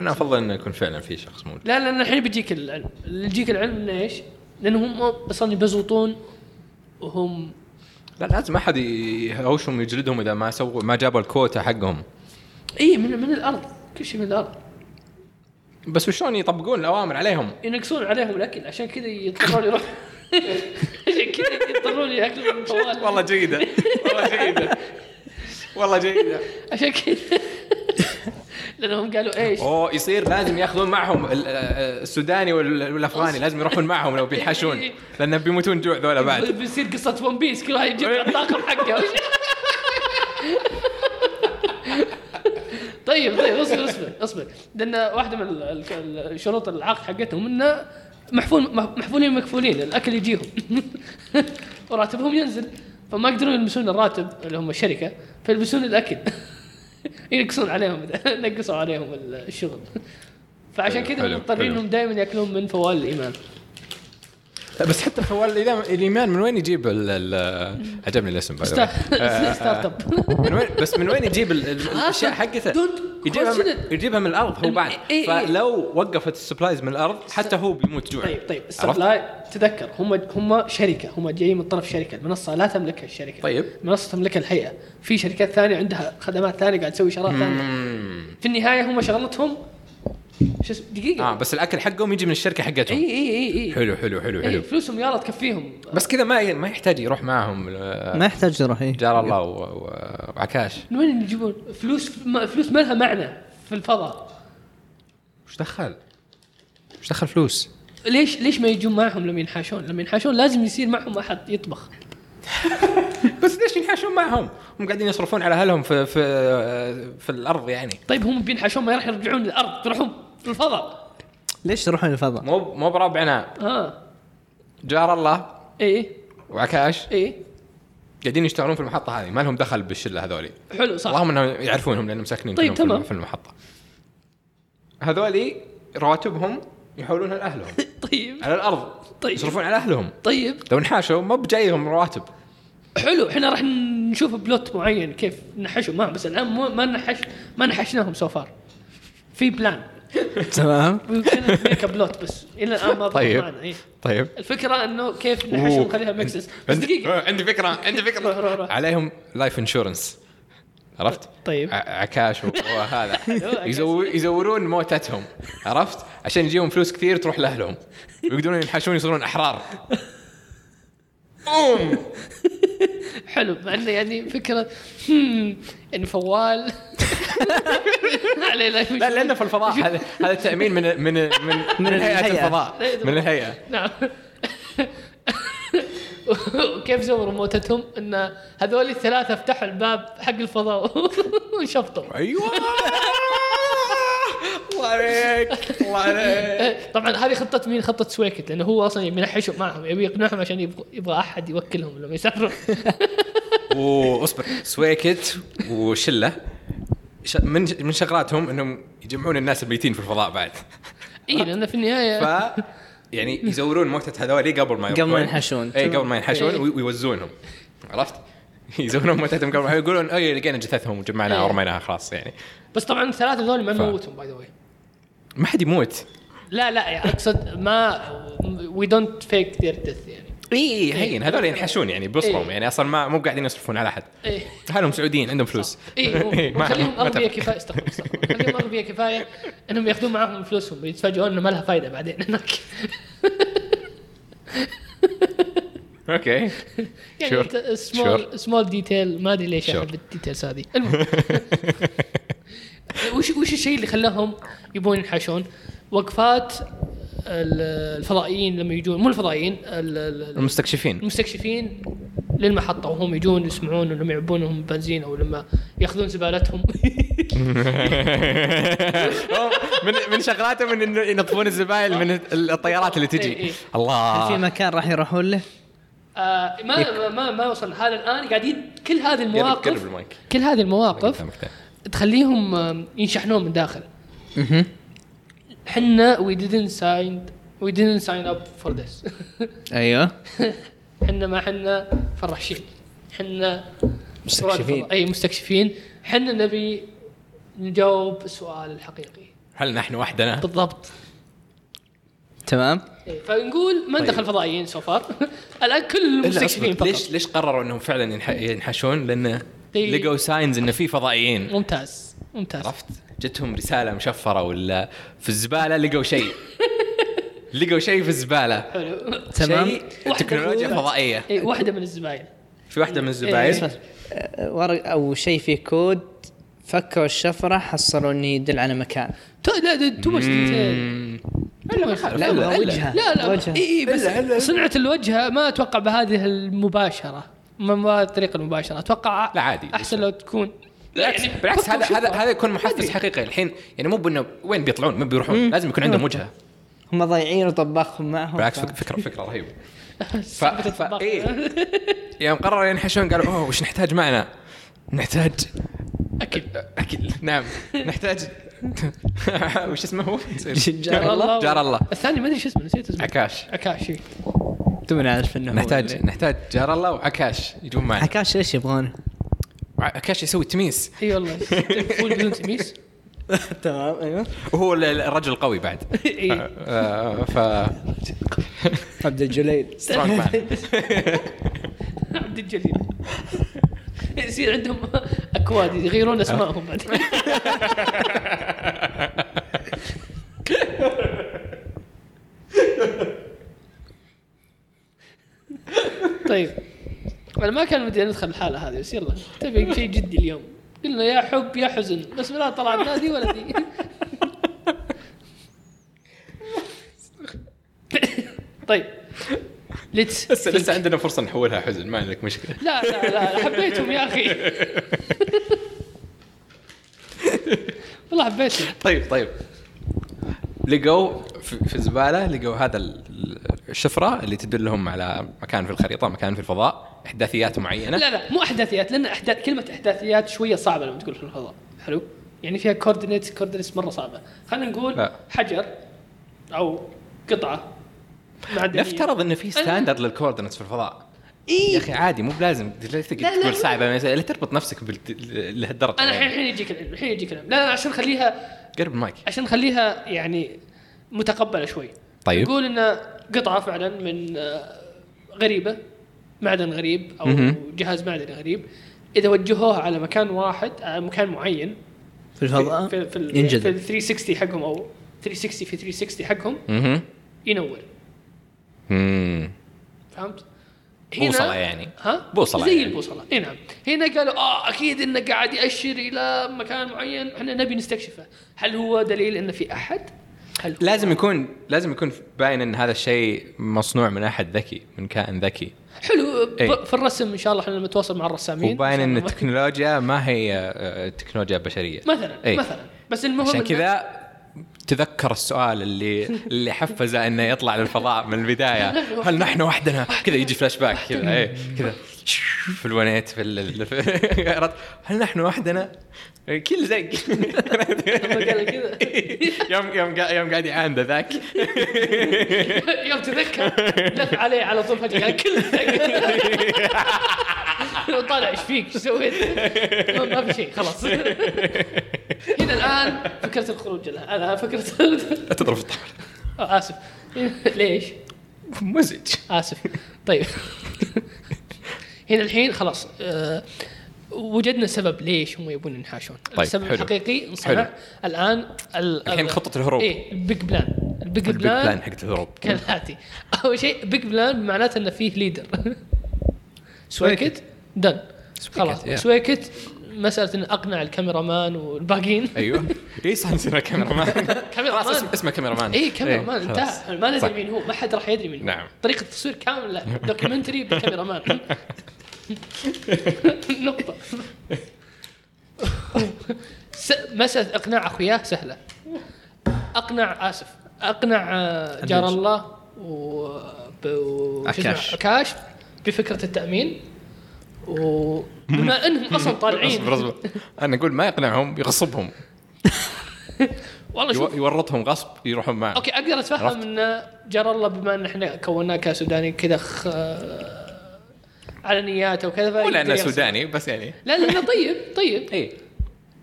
B: انا افضل انه يكون فعلا في شخص موجود
A: لا لان الحين بيجيك العلم اللي يجيك العلم انه ايش؟ لانهم اصلا يبزوطون وهم
B: لا لازم احد يهوشهم يجلدهم اذا ما سووا ما جابوا الكوتا حقهم
A: اي إيه، من من الارض كل شيء من الارض
B: بس وشلون يطبقون الاوامر عليهم
A: ينقصون عليهم الاكل عشان كذا يضطرون يروح *laughs* عشان كذا يضطرون ياكلون من طوال
B: والله جيده والله جيده والله جيده
A: عشان كذا *laughs* لانهم قالوا ايش؟
B: اوه يصير لازم ياخذون معهم ال- آه، السوداني وال- والافغاني لازم يروحون معهم لو بينحشون لان بيموتون جوع ذولا
A: *laughs*
B: بعد
A: طيب بيصير قصه ون بيس كل واحد يجيب الطاقم
B: *laughs*
A: حقه طيب طيب اصبر اصبر اصبر لان واحده من ال- ال- الشروط العقد حقتهم انه محفول مح- محفولين مكفولين الاكل يجيهم *laughs* وراتبهم ينزل فما يقدرون يلبسون الراتب اللي هم الشركه فيلبسون الاكل *laughs* ينقصون عليهم *laughs* نقصوا عليهم الشغل فعشان
B: حلو،
A: كذا
B: حلو،
A: مضطرين
B: حلو.
A: انهم دائما ياكلون من فوال الايمان
B: بس حتى فوال الإيمان- الايمان من وين يجيب ال- ال- عجبني الاسم by
A: *laughs*
B: the way. آه،
A: ستارت اب
B: من وين بس من وين يجيب ال- ال- الاشياء حقته؟
A: don't
B: يجيبها
A: question
B: من يجيبها من الارض هو بعد
A: إي- إي- إي.
B: فلو وقفت السبلايز من الارض حتى هو بيموت جوع
A: طيب طيب
B: عرفت؟
A: السبلاي تذكر هم هم شركه هم جايين من طرف شركه المنصه لا تملكها الشركه
B: طيب.
A: المنصه تملكها الهيئه في شركات ثانيه عندها خدمات ثانيه قاعد تسوي شغلات ثانيه
B: مم.
A: في النهايه هم شغلتهم شو اسمه دقيقه
B: اه بس الاكل حقهم يجي من الشركه
A: اي
B: حقتهم
A: اي اي اي
B: حلو حلو حلو
A: اي
B: حلو
A: فلوسهم يلا تكفيهم
B: بس كذا ما ي- ما يحتاج يروح معهم آه،
C: ما يحتاج يروح إيه.
B: جار الله و- و- وعكاش
A: من وين يجيبون فلوس ما فلوس ما لها معنى في الفضاء
B: وش دخل؟ وش دخل فلوس؟
A: ليش ليش ما يجون معهم لما ينحاشون لما ينحاشون لازم يصير معهم احد يطبخ
B: بس ليش ينحاشون معهم؟ هم قاعدين يصرفون على اهلهم في في في الارض يعني
A: طيب هم بينحاشون ما راح يرجعون للارض يروحون الفضاء
C: ليش يروحون الفضاء؟
B: مو مو بربعنا
A: ها
B: جار الله
A: ايه
B: وعكاش
A: ايه
B: قاعدين يشتغلون في المحطه هذه ما لهم دخل بالشله هذولي
A: حلو صح
B: اللهم انهم يعرفونهم لانهم ساكنين
A: طيب،
B: كلهم في الم-
A: تمام.
B: في المحطه هذولي رواتبهم يحولونها لاهلهم
A: *laughs* طيب
B: على الارض
A: طيب.
B: يصرفون على اهلهم
A: طيب
B: لو انحاشوا ما بجايهم رواتب
A: حلو احنا راح نشوف بلوت معين كيف نحشوا معهم بس الان مو- ما نحش ما نحشناهم سو فار في بلان
C: *laughs* تمام *laughs*
A: ميك بلوت بس الى الان ما ضبط
B: طيب.
A: معنا إيه.
B: طيب
A: الفكره انه كيف نحشهم ونخليها ميكسس بس
B: عندي
A: دقيقه
B: آه، *laughs* عندي فكره عندي
A: روح، روح،
B: فكره
A: روح.
B: عليهم لايف انشورنس عرفت؟
A: طيب. أيوة،
B: ع- عكاش و-
A: *laughs*
B: وهذا
A: عكاش.
B: يزو- يزورون موتتهم عرفت؟ عشان يجيهم فلوس كثير تروح لاهلهم ويقدرون ينحشون يصيرون احرار
A: *laughs* حلو مع انه يعني فكره هم، يعني فوال *laughs* عليه لا يمشي.
B: لا لانه في الفضاء *laughs* هذا هذا تامين من من *laughs* من من هيئه
C: الهيئة.
B: الفضاء من الهيئه
A: نعم وكيف زوروا موتتهم ان هذول الثلاثه فتحوا *laughs*
B: أيوة.
A: الباب حق الفضاء وانشفطوا
B: ايوه *laughs* الله الله عليك الله عليك
A: طبعا هذه خطه مين خطه سويكت لانه هو اصلا يبي ينحشهم معهم يبي يقنعهم عشان يبغى, يبغى احد يوكلهم لما *laughs* يسافرون
B: واصبر سويكت وشله ش- من من شغلاتهم انهم يجمعون الناس الميتين في الفضاء بعد
A: اي لانه إيه، في النهايه
B: ف يعني يزورون موتة هذولي قبل ما
C: قبل ما
B: يروحون.
C: ينحشون.
B: اي قبل ما ينحشون إيه. وي- ويوزونهم عرفت؟ *laughs* يزورون موتتهم قبل ما يروحون، يقولون اي لقينا جثثهم وجمعناها
A: إيه.
B: ورميناها خلاص يعني
A: بس طبعا الثلاثه هذول ما
B: ف-
A: نموتهم باي ذا واي
B: ما حد يموت
A: لا لا يعني اقصد ما وي دونت فيك ذير ديث يعني
B: اي إيه، هين هذول ينحشون يعني بيصرم
A: إيه.
B: يعني اصلا ما مو قاعدين يصرفون على احد
A: ايه
B: حالهم سعوديين عندهم فلوس *laughs*
A: اي
B: إيه، ما-
A: إيه، خليهم
B: ما تفرق.
A: اغبياء كفايه استغفر الله خليهم اغبياء كفايه انهم ياخذون معاهم فلوسهم يتفاجئون انه ما لها فائده بعدين هناك *laughs*
B: اوكي
A: يعني
B: Sure.
A: انت سمول سمول ديتيل ما ادري ليش
B: Sure.
A: احب الديتيلز هذه
B: *laughs*
A: المهم وش وش الشيء اللي خلاهم يبون ينحشون؟ وقفات ال- الفضائيين لما يجون مو الفضائيين ال- ال- *laughs*
B: المستكشفين
A: المستكشفين للمحطة وهم يجون يسمعون انهم يعبون لهم بنزين او لما ياخذون زبالتهم *laughs*
B: من من شغلاتهم ان إنه ينظفون الزبايل من الطيارات اللي
A: إيه، إيه.
B: تجي
C: هل يعني في
B: الله
C: مكان راح يروحون له؟
A: آه ما ما ما وصل هذا الان قاعدين كل هذه
B: قرب قرب
A: المواقف
B: المايك
A: كل هذه المواقف
B: قدامك ده.
A: تخليهم آه، ينشحنون من داخل حنا وي didn't sign we didn't sign up for this *laughs*
C: ايوه
A: حنا ما حنا فراشين حنا
C: مستكشفين.
A: اي مستكشفين حنا نبي نجاوب السؤال الحقيقي
B: هل نحن وحدنا؟
A: بالضبط
C: تمام
A: إيه، فنقول ما ندخل فضائيين سو *laughs* فار الان كل المستكشفين فقط
B: ليش ليش قرروا انهم فعلا ينح- ينحشون؟ لانه
A: They-
B: لقوا ساينز انه في فضائيين
A: ممتاز ممتاز
B: عرفت؟ جتهم رساله مشفره ولا في الزباله لقوا شيء لقوا شيء في الزباله
A: حلو *laughs*
C: تمام.
B: شيء تكنولوجيا فضائيه
A: إيه، واحده من الزباين
B: في واحده من
A: إيه.
B: الزباين
C: بس أه، ورق او شيء فيه كود فكوا الشفره حصلوا انه يدل على مكان
A: تو- لا تو ماتش ديتيل
B: مم.
C: لا
B: إلا-
C: لا
B: إلا.
C: وجهه
A: لا لا
C: وجهه
A: اي بس
B: إلا- إلا-
A: صنعه الوجهه ما اتوقع بهذه المباشره ما ما الطريقه المباشره اتوقع
B: لا، عادي.
A: احسن لو تكون
B: بالعكس
A: يعني
B: بالعكس
A: فكوا
B: هذا هذا
A: شوفوا.
B: هذا يكون محفز حقيقي الحين يعني مو بانه وين بيطلعون ما بيروحون لازم يكون عندهم وجهه
C: هم ضايعين وطباخهم معهم
B: بالعكس
C: ف-
B: فك- فكره فكره رهيبه
A: *laughs* سبت
B: ف-
A: الطباخ.
B: إيه. يوم قرروا ينحشون قالوا اوه وش نحتاج معنا؟ نحتاج
A: اكل
B: اكل نعم نحتاج *laughs* وش اسمه هو؟
C: جار الله.
B: جار الله
A: الثاني ما ادري شو اسمه نسيت اسمه
B: عكاش
A: عكاش إيه.
C: تو نعرف انه هو
B: نحتاج
C: اللي-
B: نحتاج جار الله وعكاش يجون معنا
C: عكاش ايش يبغونه؟
B: عكاش يسوي تميس
A: اي
B: *laughs*
A: والله فول بدون تميس
C: *laughs* تمام ايوه
B: وهو ال- الرجل القوي
A: *laughs*
B: بعد
A: *laughs*
B: *laughs*
A: إيه.
B: آه، ف
C: عبد الجليل
B: سترونج مان
A: *laughs* عبد الجليل يصير عندهم اكواد يغيرون اسمائهم بعدين طيب انا ما كان ودي ندخل الحاله هذه بس يلا تبي شيء جدي اليوم قلنا يا حب يا حزن بس لا طلعت لا دي ولا دي *laughs* طيب
B: *laughs*
A: ليتس
B: لسه لسه عندنا فرصه نحولها حزن ما عندك مشكله
A: لا لا لا حبيتهم يا اخي والله حبيتهم
B: طيب طيب لقوا في في الزباله لقوا هذا ال- الشفره اللي تدلهم على مكان في الخريطه مكان في الفضاء احداثيات معينه
A: لا لا مو احداثيات لان احداث كلمه احداثيات شويه صعبه لما تقول في الفضاء حلو يعني فيها كوردينيتس كوردينيتس مره صعبه خلينا نقول
B: لا.
A: حجر او قطعه معدنية.
B: نفترض انه في ستاندرد للكوردنتس في الفضاء يا
A: إيه؟
B: اخي عادي مو بلازم لا تقعد
A: لا، لا،
B: تقول
A: لا.
B: صعبه مثلا لا تربط نفسك بالت- لهالدرجه
A: انا الحين
B: يعني.
A: الحين يجيك العلم الحين يجيك العلم لا لا عشان اخليها
B: قرب المايك
A: عشان اخليها يعني متقبله شوي
B: طيب
A: نقول انه قطعه فعلا من آه، غريبه معدن غريب او
B: مهم.
A: جهاز معدني غريب اذا وجهوها على مكان واحد على مكان معين
C: في
A: في
C: الفضاء
A: في, في, ال- في ال
C: أه، ينجذب
A: 360 حقهم او 360 في 360 حقهم
B: اها
A: ينور
B: مم.
A: فهمت؟
B: بوصلة يعني.
A: ها؟
B: بوصلة
A: زي
B: يعني.
A: البوصله اي نعم هنا قالوا اه اكيد انه قاعد ياشر الى مكان معين احنا نبي نستكشفه هل هو دليل انه في احد؟ هل هو
B: لازم يكون لازم يكون باين ان هذا الشيء مصنوع من احد ذكي من كائن ذكي
A: حلو ب-
B: إيه.
A: في الرسم ان شاء الله احنا لما نتواصل مع الرسامين إن
B: وباين
A: شاء
B: ان
A: الله ما-
B: التكنولوجيا ما هي آه، تكنولوجيا بشريه
A: مثلا
B: إيه.
A: مثلا بس المهم *laughs*
B: عشان
A: إنه-
B: كذا تذكر السؤال اللي اللي حفزه انه يطلع للفضاء من البدايه هل نحن وحدنا كذا يجي فلاش باك كذا اي كذا في الونيت في ال- ال- في- عرفت؟ هل نحن وحدنا إيه، كل زق
A: قال كذا
B: *laughs* يوم يوم قا- يوم قاعد يعاند ذاك
A: *laughs* يوم تذكر لف عليه على طول فجاه قال كل *laughs* طالع ايش فيك ايش سويت؟ ما- ما في شيء خلاص *laughs* هنا الان فكره الخروج لا انا فكره ال-
B: لا تضرب الطاوله
A: *laughs* آه، اسف *laughs* ليش؟
B: مزعج
A: اسف طيب *laughs* هنا الحين خلاص آه، وجدنا سبب ليش هم يبون ينحاشون
B: طيب،
A: السبب
B: حلو.
A: الحقيقي انصنع
B: حلو.
A: الان ال-
B: الحين
A: ال-
B: خطة الهروب.
A: ايه البيج بلان البيج
B: البيج بلان
A: بلان
B: حقت الهروب
A: كالاتي اول شيء بيج بلان معناته انه فيه ليدر سويكت دن خلاص
B: yeah.
A: سويكت مساله انه اقنع الكاميرامان والباقيين
B: *laughs* ايوه اي صح نسينا كاميرا *laughs* مان
A: كاميرا
B: خلاص اسم-
A: مان
B: اسمه كاميرا مان إيه،
A: اي إيه، كاميرا مان
B: خلاص.
A: انتهى ما
B: صح.
A: ندري مين هو ما حد راح يدري مين هو
B: نعم.
A: طريقه التصوير كامله دوكيومنتري بالكاميرا مان *laughs* نقطه س- مساله اقناع اخوياه سهله اقنع اسف اقنع آه، جار الله و ب- و- شو اسمه؟
C: عكاش.
A: عكاش بفكره التامين
B: *laughs*
A: وبما انهم اصلا طالعين
B: اصبر اصبر انا اقول ما يقنعهم يغصبهم
A: والله شوف
B: يو- يورطهم غصب يروحون معه
A: اوكي اقدر اتفهم
B: عرفت؟
A: ان جار الله بما ان احنا كوناه كسوداني كذا خ... على نياته وكذا فيقدر
B: ولا انه
A: يغسل.
B: سوداني بس يعني
A: لا لا لا
B: *laughs*
A: طيب طيب
B: اي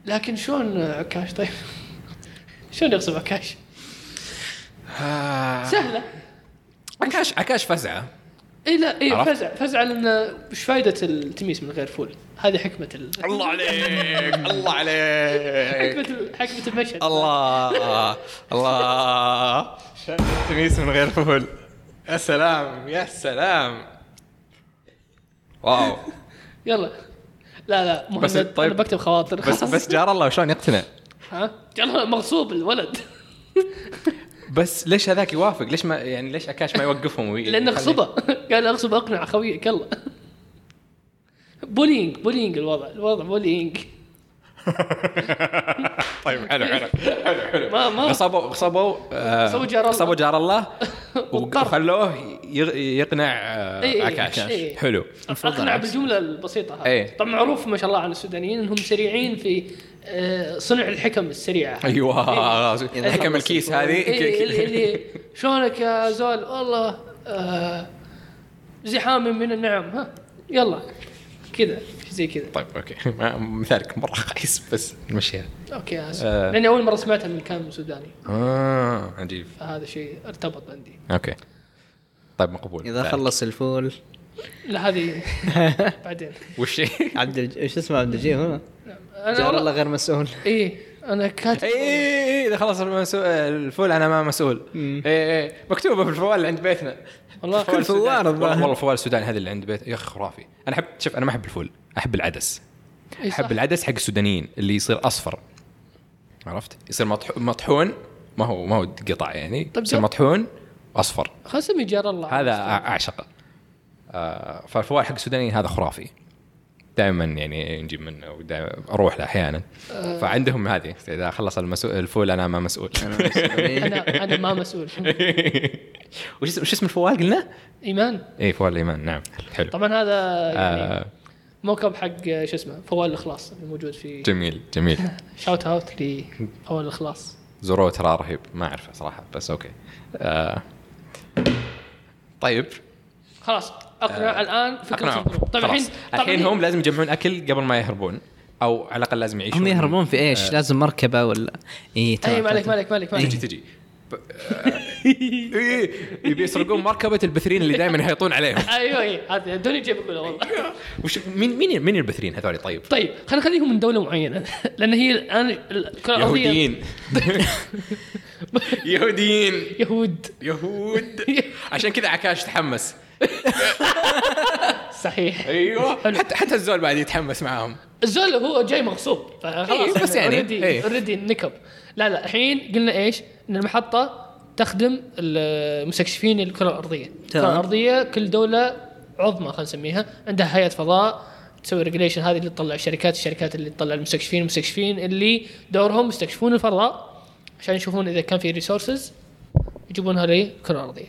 A: لكن شلون عكاش طيب؟ شلون يغصب عكاش؟ سهله
B: آه، عكاش عكاش فزعه
A: اي لا اي
B: عرفت؟
A: فزع فزع لان وش فائده التميس من غير فول؟ هذه حكمه ال...
B: الله عليك الله عليك
A: حكمه ال- حكمه المشهد
B: إيه. الله الله شد التميس من غير فول يا سلام يا سلام واو
A: يلا لا لا مهند
B: بس
A: بس
B: طيب.
A: طيب انا بكتب خواطر
B: بس بس جار الله وشلون يقتنع
A: ها يلا مغصوب الولد
B: بس ليش هذاك يوافق ليش ما يعني ليش عكاش ما يوقفهم وي-
A: لانه
B: يخلي-
A: غصبه *laughs* قال اغصب اقنع خويك يلا بولينج بولينج الوضع الوضع بولينج
B: طيب حلو حلو حلو حلو
A: ما- ما-
B: غصبوا غصبوا آه،
A: غصبوا جار الله.
B: غصبوا
A: *laughs*
B: جار الله
A: واضطر.
B: وخلوه يغ- يقنع آه،
A: إي، إي،
B: عكاش
A: إي.
B: حلو
A: اقنع بالجمله البسيطه هذه
B: إيه.
A: طبعا معروف ما شاء الله عن السودانيين انهم سريعين في آه، صنع الحكم السريعه
B: ايوه حكم الكيس هذه
A: إيه، اللي اللي
B: *laughs*
A: شلونك يا زول والله آه، زحام من النعم ها يلا كذا زي كذا
B: طيب اوكي *laughs* ما- مثالك مره خايس بس نمشيها
A: اوكي يا اسف
B: آه.
A: لاني اول مره سمعتها من كان سوداني
B: اه عجيب
A: فهذا شيء ارتبط عندي
B: اوكي طيب مقبول
C: اذا خلص الفول
A: لا هذه
B: *laughs*
A: بعدين
B: وش *laughs*
C: عبد الج... ايش اسمه عبد الجيب هو؟
A: انا
C: جار
A: والله
C: الله غير
B: *laughs*
C: مسؤول *laughs*
A: ايه انا كاتب
B: إيه، اي اذا خلص المسؤول الفول انا ما مسؤول اي اي مكتوبه في الفوال اللي عند بيتنا
A: والله
B: فوال
C: كل فوار
B: السودان.
C: الظاهر.
B: والله فوال السوداني هذا اللي عند بيت يا اخي خرافي انا احب شوف انا ما احب الفول احب العدس
A: إيه صح.
B: احب العدس حق السودانيين اللي يصير اصفر عرفت يصير مطح- مطحون ما هو ما هو قطع يعني
A: طب
B: يصير
A: جا-
B: مطحون واصفر
A: خسمي جار الله
B: هذا أع- اعشقه آه، فالفوال حق السودانيين هذا خرافي دائما يعني نجيب منه ودائما اروح له احيانا
A: آه.
B: فعندهم هذه اذا خلص المسؤول الفول انا ما مسؤول
A: يعني. انا انا ما مسؤول
B: *laughs* وش اسم- وش اسم الفوال قلنا؟
A: ايمان
B: اي فوال الايمان نعم حلو
A: طبعا هذا يعني
B: آه،
A: موكب حق شو اسمه فوال الاخلاص اللي موجود في
B: جميل جميل
A: شاوت اوت لفوال الاخلاص
B: زرو ترى رهيب ما اعرفه صراحه بس اوكي آه. طيب
A: خلاص اقنع الان فكره
B: اقنعهم
A: الجروب. طيب
B: آه. خلاص.
A: الحين طب
B: الحين هم لازم يجمعون اكل قبل ما يهربون او على الاقل لازم يعيشون
C: هم يهربون في ايش؟ لازم مركبه ولا اي
A: اي
B: طيب،
A: ما عليك ما عليك ما عليك ما
C: إيه.
B: تجي
A: عليك
B: تجي ب- آه، إيه، يبي يسرقون مركبه البثرين اللي دائما يحيطون عليهم
A: ايوه اي هذا دوني جيب كله والله
B: وش مين مين مين البثرين هذول طيب؟
A: طيب خلينا نخليهم من دوله *laughs* معينه لان هي الان الكره الارضيه *laughs*
B: يهوديين يهوديين
A: يهود *laughs*
B: يهود عشان كذا عكاش تحمس
A: صحيح
B: ايوه
A: حلو.
B: حتى حتى الزول بعد يتحمس معاهم
A: الزول هو جاي مغصوب
B: إيه،
A: فخلاص
B: بس يعني،
A: اوريدي
B: إيه.
A: اوريدي نكب لا لا الحين قلنا ايش؟ ان المحطه تخدم المستكشفين الكره الارضيه الكره
C: تمام.
A: الارضيه كل دوله عظمى خلينا نسميها عندها هيئه فضاء تسوي ريجليشن هذه اللي تطلع الشركات الشركات اللي تطلع المستكشفين المستكشفين اللي دورهم يستكشفون الفضاء عشان يشوفون اذا كان في ريسورسز يجيبونها للكره الارضيه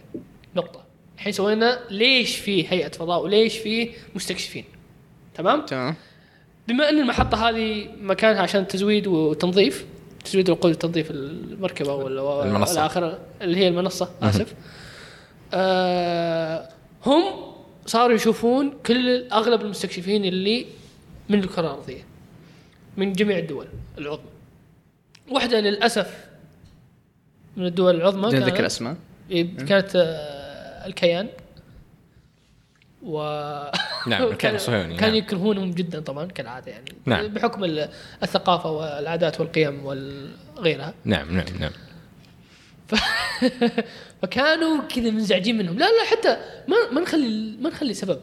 A: نقطه الحين سوينا ليش في هيئه فضاء وليش في مستكشفين تمام
C: تمام
A: بما ان المحطه هذه مكانها عشان تزويد وتنظيف تزويد الوقود وتنظيف المركبه ولا
B: المنصة.
A: الاخر اللي هي المنصه اسف آه هم صاروا يشوفون كل اغلب المستكشفين اللي من الكره الارضيه من جميع الدول العظمى واحده للاسف من الدول العظمى
C: بدون ذكر
A: كانت-
C: اسماء
A: إيه، كانت آه، الكيان و *laughs*
B: نعم، الكيان
A: كان-
B: الصهيوني،
A: كانوا
B: نعم.
A: يكرهونهم جدا طبعا كالعاده يعني
B: نعم.
A: بحكم ال- الثقافه والعادات والقيم وغيرها
B: نعم نعم نعم
A: ف... *laughs* فكانوا كذا منزعجين منهم لا لا حتى ما ما نخلي ما نخلي سبب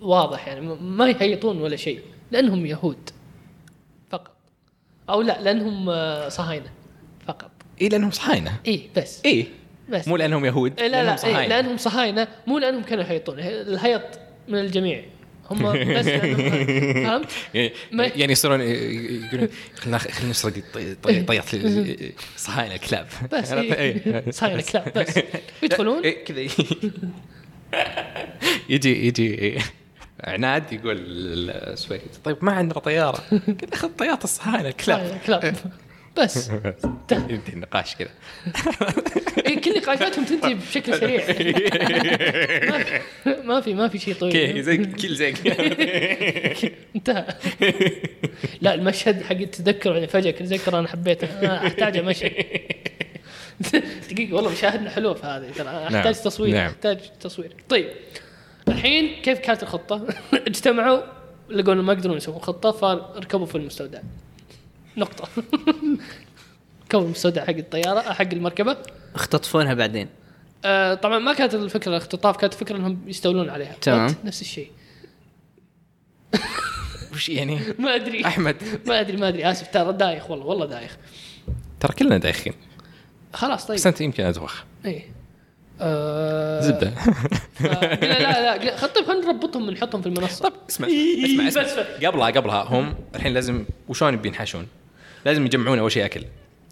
A: واضح يعني ما- ما يهيطون ولا شيء لانهم يهود فقط او لا لانهم آه، صهاينه فقط
B: اي لانهم صهاينه
A: اي بس
B: اي
A: بس
B: إيه، مو لانهم يهود
A: إيه لا
B: لأنهم
A: لا إيه
B: صهاينة.
A: لانهم صهاينه مو لانهم كانوا يهيطون هي- الهيط من الجميع
B: *laughs*
A: هم بس لأنهم- فهمت؟
B: يعني-
A: ما-
B: يعني يصيرون ي- ي- يقولون خلنا خلنا نسرق طي- طي- طيات *laughs* صهاينه كلاب
A: إيه. بس إيه. صهاينه كلاب
B: *laughs*
A: بس يدخلون
B: إيه، كذا *laughs* يجي يجي عناد يقول السويد طيب ما عندنا طياره قال اخذ طيارة الصهاينه
A: صهاينة
B: الكلاب
A: طيب، كلاب
B: *laughs*
A: بس طيب.
B: ينتهي النقاش كذا
A: إيه كل نقاشاتهم تنتهي بشكل سريع
B: *laughs*
A: ما- ما في ما في شيء
B: كي
A: طويل
B: إيه، زي كل زي *laughs*
A: انتهى لا المشهد حق تذكره يعني فجاه كنت اتذكر انا حبيته انا احتاجه
B: *laughs*
A: مشهد دقيقه والله مشاهدنا حلوه في هذه ترى أنا احتاج
B: نعم،
A: تصوير
B: نعم.
A: احتاج تصوير طيب الحين كيف كانت الخطه؟ *laughs* اجتمعوا لقوا إنه ما يقدرون يسوون خطه فركبوا في المستودع *laughs* نقطه كون المستودع حق الطياره حق المركبه
C: اختطفونها بعدين
A: آه، طبعا ما كانت الفكره الاختطاف كانت الفكره انهم يستولون عليها
C: تمام.
A: بس نفس الشيء
B: وش يعني
A: ما ادري
B: احمد
A: ما ادري ما ادري اسف ترى دايخ والله والله دايخ
B: ترى كلنا دايخين
A: طيب. خلاص طيب إيه.
B: بس انت يمكن ادوخ
A: اي
B: *laughs*
A: آه
B: زبده
A: ف- آه، لا لا لا خ- طيب خلينا نربطهم ونحطهم في المنصه
B: طب اسمع اسمع اسمع,
A: إيه، بس-
B: اسمع. قبلها قبلها هم الحين لازم وشلون بينحشون؟ لازم يجمعون اول شيء اكل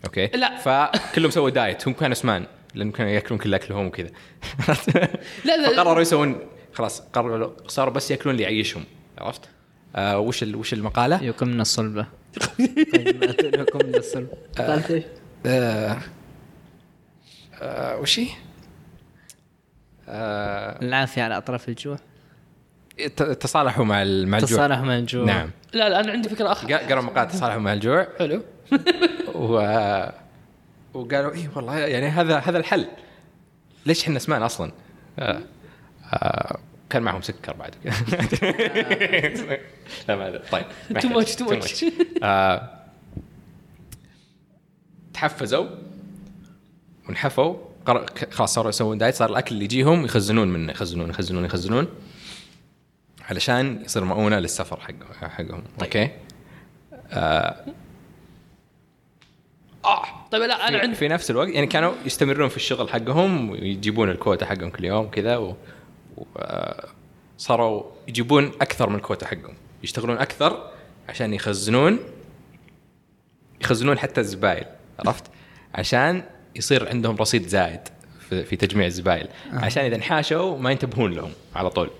B: اوكي؟
A: لا.
B: فكلهم سووا دايت هم كانوا اسمان لان كانوا ياكلون كل اكلهم وكذا *laughs*
A: لا لا
B: فقرروا يسوون خلاص قرروا صاروا بس ياكلون اللي يعيشهم عرفت؟ آه وش ال- وش المقاله؟
C: يكون من الصلبه *laughs* يكون من الصلبه قالت ايش؟
B: آه آه وش هي؟ آه
C: العافيه على اطراف الجوع
B: ت- تصالحوا مع ال- مع الجوع
C: تصالح مع الجوع
B: نعم
A: لا لا انا عندي فكره اخر
B: قا- قرأوا مقال تصالحوا مع الجوع *laughs*
A: حلو
B: و... وقالوا اي والله يعني هذا هذا الحل ليش احنا اسمان اصلا؟ آه. آه. كان معهم سكر بعد *laughs* لا ما أدري. طيب ما
A: Too
B: يحتاج.
A: much, too
B: Too
A: much. *laughs*
B: much. آه. تحفزوا وانحفوا قر- ك- خلاص صاروا يسوون دايت صار الاكل اللي يجيهم يخزنون منه يخزنون يخزنون يخزنون علشان يصير مؤونه للسفر حقهم حقهم اوكي
A: طيب لا انا
B: في,
A: عندي
B: في نفس الوقت يعني كانوا يستمرون في الشغل حقهم ويجيبون الكوتا حقهم كل يوم كذا و... و... آه، صاروا يجيبون اكثر من الكوتا حقهم يشتغلون اكثر عشان يخزنون يخزنون حتى الزبايل عرفت عشان يصير عندهم رصيد زائد في, في تجميع الزبايل عشان اذا انحاشوا ما ينتبهون لهم على طول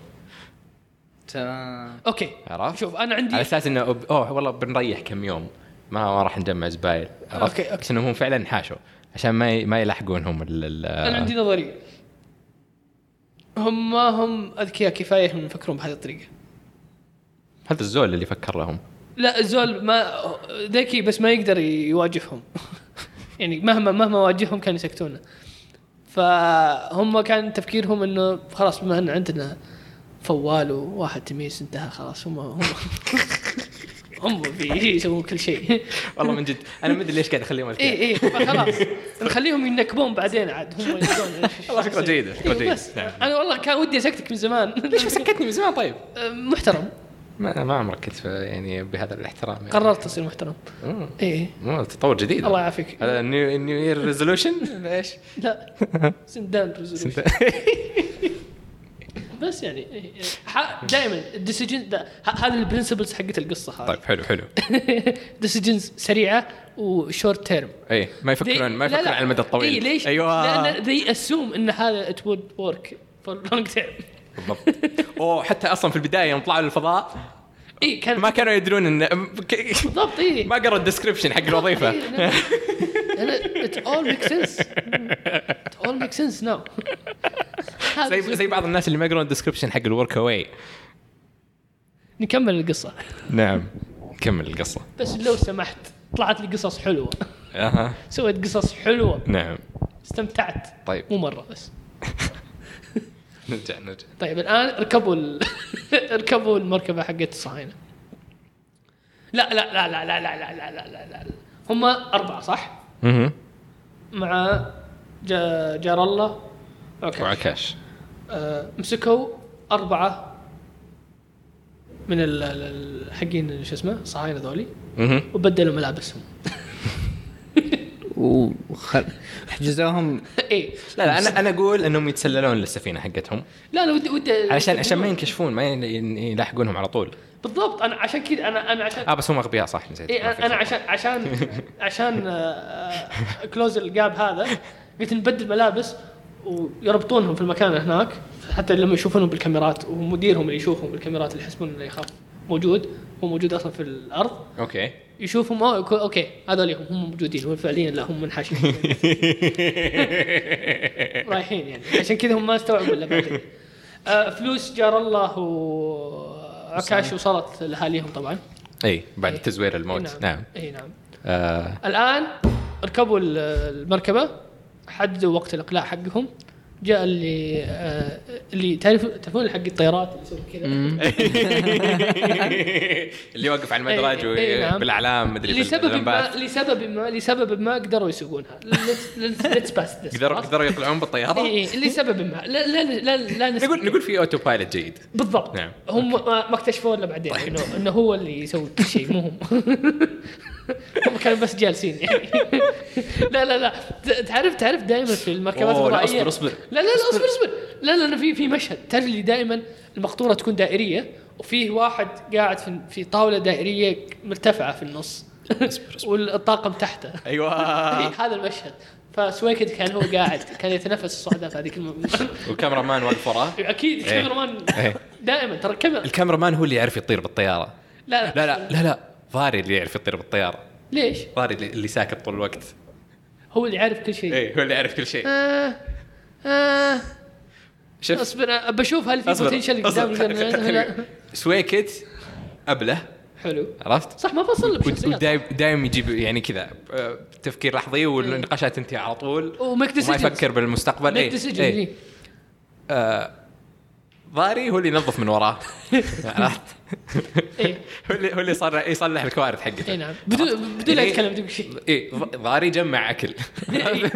C: تمام
A: اوكي
B: عرفت؟
A: شوف انا عندي
B: آه. على اساس انه أب- اوه والله بنريح كم يوم ما, ما راح نجمع زبايل عرفت؟
A: أوكي، أوكي.
B: بس انهم هم فعلا انحاشوا عشان ما ي- ما يلحقونهم ال- ال-
A: انا عندي نظريه هم ما هم اذكياء كفايه انهم يفكرون بهذه الطريقه
B: هذا الزول اللي فكر لهم
A: لا الزول ما ذكي بس ما يقدر يواجههم *laughs* يعني مهما مهما واجههم كانوا يسكتونه فهم كان تفكيرهم انه خلاص بما ان عندنا فوال وواحد تميس انتهى خلاص هم هم *laughs* هم في- يسوون كل شيء *laughs*
B: والله من جد انا ما ادري ليش قاعد اخليهم اذكياء
A: اي اي فخلاص نخليهم ينكبون بعدين عاد هم يلقون
B: والله فكرة جيدة، فكرة
A: إيه،
B: جيدة.
A: بس
B: نعم.
A: انا والله كان ودي اسكتك من زمان
B: ليش سكتني من زمان طيب؟
A: *laughs* محترم
B: ما ما عمرك كنت في- يعني بهذا الاحترام يعني.
A: قررت اصير محترم
B: مم.
A: اي
B: مم، تطور جديد
A: الله يعافيك.
B: هذا نيو نيو يير ريزولوشن ايش؟
A: لا سندان ريزولوشن بس يعني دائما الديسيجن ده- ه- هذه البرنسبلز حقت القصه هذه
B: *laughs* طيب حلو حلو
A: *laughs* ديسيجنز سريعه وشورت تيرم
B: اي طيب. إيه، ما يفكرون ما يفكرون على المدى الطويل
A: اي إيه، ليش؟
B: ايوه
A: لان they assume ان هذا it would work for long term
B: بالضبط اوه حتى اصلا في البدايه يوم طلعوا للفضاء
A: اي إيه، كان
B: ما كانوا يدرون ان
A: بالضبط إيه. اي
B: ما قروا الديسكربشن حق الوظيفه *laughs*
A: ات اول ميك سنس ات اول ميك سنس ناو
B: *laughs* زي زي بعض الناس اللي ما يقرون الديسكربشن حق الورك اواي
A: نكمل القصه
B: نعم كمل القصه
A: بس لو سمحت طلعت لي قصص حلوه
B: اها
A: سويت قصص حلوه
B: نعم
A: استمتعت
B: طيب.
A: مو مره بس
B: نرجع نرجع
A: طيب الان اركبوا ال... *laughs* اركبوا المركبه حقت الصهاينه لا لا لا لا لا لا لا لا لا لا, لا. هم اربعه صح؟
B: اها
A: مع جا- جار الله اوكي
B: وعكاش
A: آه، مسكوا اربعه من ال- ال- ال- حقين شو اسمه الصهاينه ذولي
B: اها
A: وبدلوا ملابسهم *laughs*
C: وخل... حجزوهم
A: اي
B: لا لا انا انا اقول انهم يتسللون للسفينه حقتهم
A: لا انا ودي ودي
B: عشان عشان ما ينكشفون ما ين- ين- يلاحقونهم على طول
A: بالضبط انا عشان كذا انا انا عشان
B: اه بس هم اغبياء صح نسيت
A: اي
B: ما
A: انا إيه،
B: في
A: أنا
B: خبر.
A: عشان عشان عشان آه، كلوز الجاب هذا قلت نبدل ملابس ويربطونهم في المكان هناك حتى لما يشوفونهم بالكاميرات ومديرهم اللي يشوفهم بالكاميرات اللي يحسبون انه يخاف موجود هو موجود اصلا في الارض
B: اوكي
A: يشوفهم أو يكون- اوكي هذول هم هم موجودين هم فعليا لا هم
B: *laughs*
A: منحاشين رايحين يعني عشان كذا هم ما استوعبوا الا بعدين آه، فلوس جار الله آه، وعكاش وصلت لاهاليهم طبعا
B: اي بعد تزوير الموت
A: إي
B: نعم
A: اي إيه. نعم
B: آه،
A: الان ركبوا ال- المركبه حددوا وقت الاقلاع حقهم جاء اللي آه اللي تعرف تعرفون حق الطيارات اللي يسوي كذا
B: *laughs* اللي يوقف على المدرج
A: إي- إي نعم.
B: بالاعلام مدري
A: لسبب ما
B: باللمبات
A: لسبب ما لسبب ما قدروا يسوقونها ليتس باس ذس
B: *laughs* قدروا قدروا يقلعون بالطياره
A: اي اي إيه، لسبب ما لا لا لا لا نسبة.
B: نقول نقول في اوتو بايلوت جيد
A: بالضبط
B: نعم. طيب.
A: هم ما ما اكتشفوا الا بعدين انه انه هو اللي يسوي كل شيء مو هم *laughs* هم كانوا بس جالسين يعني *laughs* لا لا لا ت- تعرف تعرف دائما في المركبات
B: أوه، لا،
A: الفضائيه
B: أصبر- أصبر.
A: لا لا لا اصبر اصبر لا لا لا في في مشهد تعرف اللي دائما المقطوره تكون دائريه وفيه واحد قاعد في في طاوله دائريه مرتفعه في النص *laughs* والطاقم تحته
B: *laughs* ايوه
A: *laughs* هذا المشهد فسويكد كان هو قاعد كان يتنفس الصعداء في هذيك
B: *laughs*
A: الم...
B: والكاميرا مان واقف *laughs* وراه
A: اكيد
B: إيه.
A: الكاميرا مان
B: إيه.
A: دائما ترى الكاميرا
B: الكاميرا مان هو اللي يعرف يطير بالطياره
A: لا
B: لا لا لا لا ظهري اللي يعرف يطير بالطياره
A: ليش؟
B: ظهري اللي- اللي ساكت طول الوقت
A: هو اللي عارف كل شيء
B: اي إيه، هو اللي يعرف كل شيء
A: آه آه
B: شوف
A: اصبر أ- بشوف هل في بوتنشل قدام ولا لا.
B: سويكت ابله
A: حلو
B: عرفت؟
A: صح ما بصل بشخصيات
B: ودايم يجيب يعني كذا آه، تفكير لحظي والنقاشات تنتهي على طول
A: وميك
B: وما
A: decisions.
B: يفكر بالمستقبل
A: make
B: اي
A: decisions
B: إي.
A: إيه.
B: ظهري هو اللي ينظف من
A: *laughs*
B: وراه عرفت؟
A: إيه.
B: هو اللي هو اللي صار يصلح الكوارث حقته
A: اي نعم بدون بدون لا
B: إيه.
A: يتكلم بدون شيء
B: اي ظ- ظهري جمع اكل
A: إيه،
B: *laughs*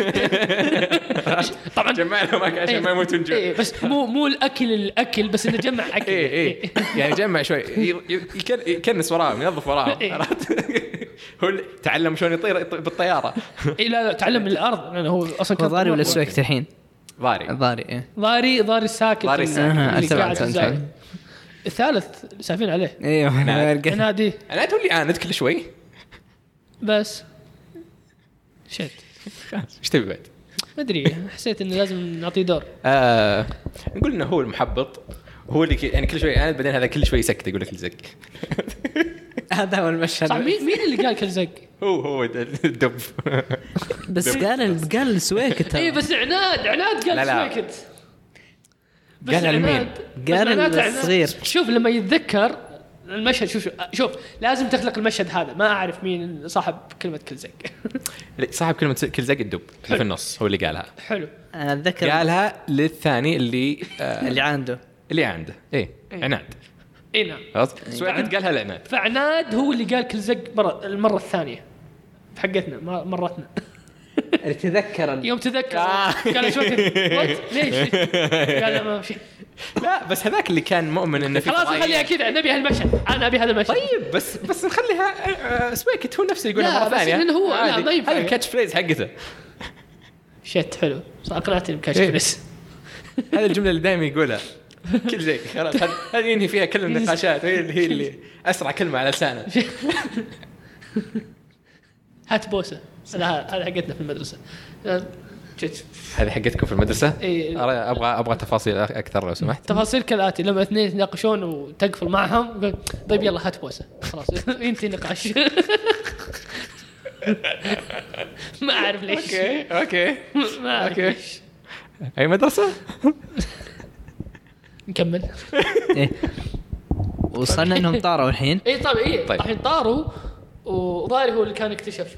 A: طبعا
B: جمع لهم اكل *laughs* عشان ما
A: إيه.
B: يموتون جوع
A: إيه، بس مو مو الاكل الاكل بس انه جمع إيه، اكل
B: اي اي *laughs* يعني جمع شوي ي- ي- يكن- يكنس وراهم ينظف وراهم
A: إيه.
B: عرفت؟ *laughs* هو اللي تعلم شلون يطير يط- بالطياره
A: إيه، لا لا تعلم من الارض لانه هو اصلا
C: هو
A: كان
C: ضاري ولا سويكت الحين؟ *laughs*
B: ظهري
C: ضاري ايه
A: ضاري ضاري الساكت
B: ضاري
A: اللي-
B: الساكت.
A: اللي
C: أها، أتبع-
A: قاعد في
C: أتبع-
A: الزاوية.
C: أتبع.
A: الثالث سافين عليه
C: ايوه
B: نعم.
C: انا لقيت-
A: عنادي
B: انا تولي عاند كل شوي
A: بس شت
B: ايش تبي بعد؟
A: ما ادري حسيت انه لازم نعطيه دور
B: آه نقول انه هو المحبط هو اللي ك- يعني كل شوي عاند بعدين هذا كل شوي يسكت يقول لك الزق
C: هذا هو
A: صح
C: المشهد
A: مين مين اللي قال كل زق؟
B: هو هو *laughs* د- الدب
C: بس قال قال سويكت
A: اي إيه، بس عناد عناد
B: لا،
A: قال
B: لا.
A: سويكت
B: قال على مين؟
C: قال الصغير.
A: شوف لما يتذكر المشهد شوف شوف- شوف لازم تخلق المشهد هذا ما اعرف مين صاحب كلمه كل زق *laughs*
B: صاحب كلمه س- كل زق الدب اللي في النص هو اللي قالها
A: حلو
C: انا اتذكر
B: قالها للثاني اللي آه
C: اللي عنده
B: اللي عنده ايه
A: إيه.
B: عناد
A: اي نعم
B: عرفت؟ سويكت قالها لعناد
A: فعناد هو اللي قال كل زق مرة المره الثانيه في حقتنا ما- مرتنا
C: اللي تذكر
A: يوم تذكر
B: آه.
A: قال شوي
B: *laughs*
A: ليش؟ قال لا ما في شيء
B: لا بس هذاك اللي كان مؤمن انه في
A: خلاص
B: فضائيات.
A: خليها كذا نبي هالمشهد انا ابي هذا المشهد
B: طيب بس بس نخليها آه، آه، سويكت هو نفسه يقولها
A: لا،
B: مره
A: بس
B: ثانيه
A: لأنه هو- لا، يعني.
B: عادي.
A: ما ينفع.
B: هذا الكاتش فريز حقته
A: شت حلو اقنعتني بكاش
B: إيه.
A: فريس
B: هذه الجمله اللي دائما يقولها كل شيء خلاص هذه- هذه ينهي فيها كل النقاشات هي اللي هي اللي اسرع كلمه على لسانه
A: هات بوسه هذا هذا حقتنا في المدرسه آه، جت-
B: هذه حقتكم في المدرسه؟
A: إيه.
B: أرى- ابغى ابغى تفاصيل أك- اكثر لو سمحت
A: تفاصيل كالاتي لما اثنين يتناقشون وتقفل معهم يقول، طيب يلا هات بوسه خلاص *laughs* ينتهي النقاش ما اعرف ليش
B: اوكي اوكي
A: *laughs* ما اعرف
B: أوكي.
A: ليش
B: اي مدرسه؟
A: نكمل
C: إيه. وصلنا انهم طاروا الحين
A: اي طبعا اي
B: طيب.
A: إيه، الحين طاروا وظاهري هو اللي كان اكتشف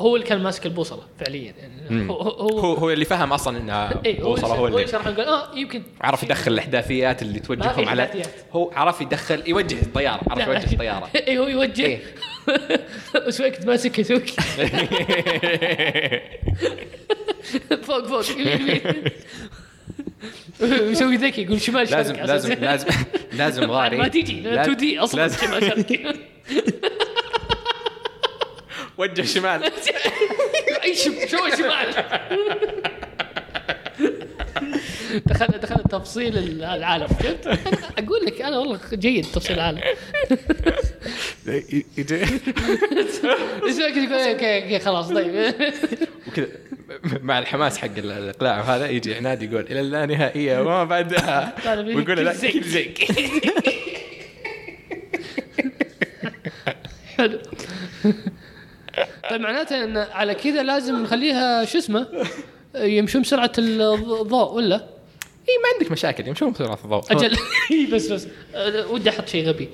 A: هو اللي كان ماسك البوصله فعليا يعني هو
B: هو
A: هو
B: هو اللي فهم اصلا انها
A: إيه، هو
B: بوصله هو
A: اللي
B: اللي
A: شرح قال اه يمكن
B: عرف يدخل الاحداثيات اللي
A: ما في
B: توجههم على
A: إحداثيات.
B: هو عرف يدخل يوجه الطياره عرف
A: *laughs*
B: يوجه الطياره
A: اي هو يوجه
B: إيه.
A: وسويك ماسك يسويك *laughs* فوق فوق *laughs*
B: *laughs*
A: يمين يمين ويسوي ذكي يقول شمال شرق
B: *laughs* لازم
A: على أساس-
B: لازم لازم لازم
A: بعد
B: غاري
A: *laughs* ما تجي
B: لاز-
A: 2 دي اصلا *laughs*
B: لازم
A: شمال
B: *laughs*
A: شرق
B: وجه شمال
A: اي شب شو
B: *laughs*
A: شمال دخلنا دخلنا تفصيل العالم فهمت؟ أنا اقول لك انا والله جيد تفصيل العالم اسمعك تقول اوكي اوكي خلاص طيب
B: *laughs*
A: *laughs*
B: وكذا مع الحماس حق ال- الاقلاع وهذا يجي عناد يقول الى اللانهائيه وما بعدها
A: *laughs* طالع فيك
B: ويقول له لا
A: كل
B: كل زيك
A: حلو طيب معناته ان على كذا لازم نخليها شو اسمه يمشون بسرعه الضوء ولا
B: اي إيه، ما عندك مشاكل يمشون بسرعه الضوء
A: اجل *laughs* إي بس بس أه، ودي احط شيء غبي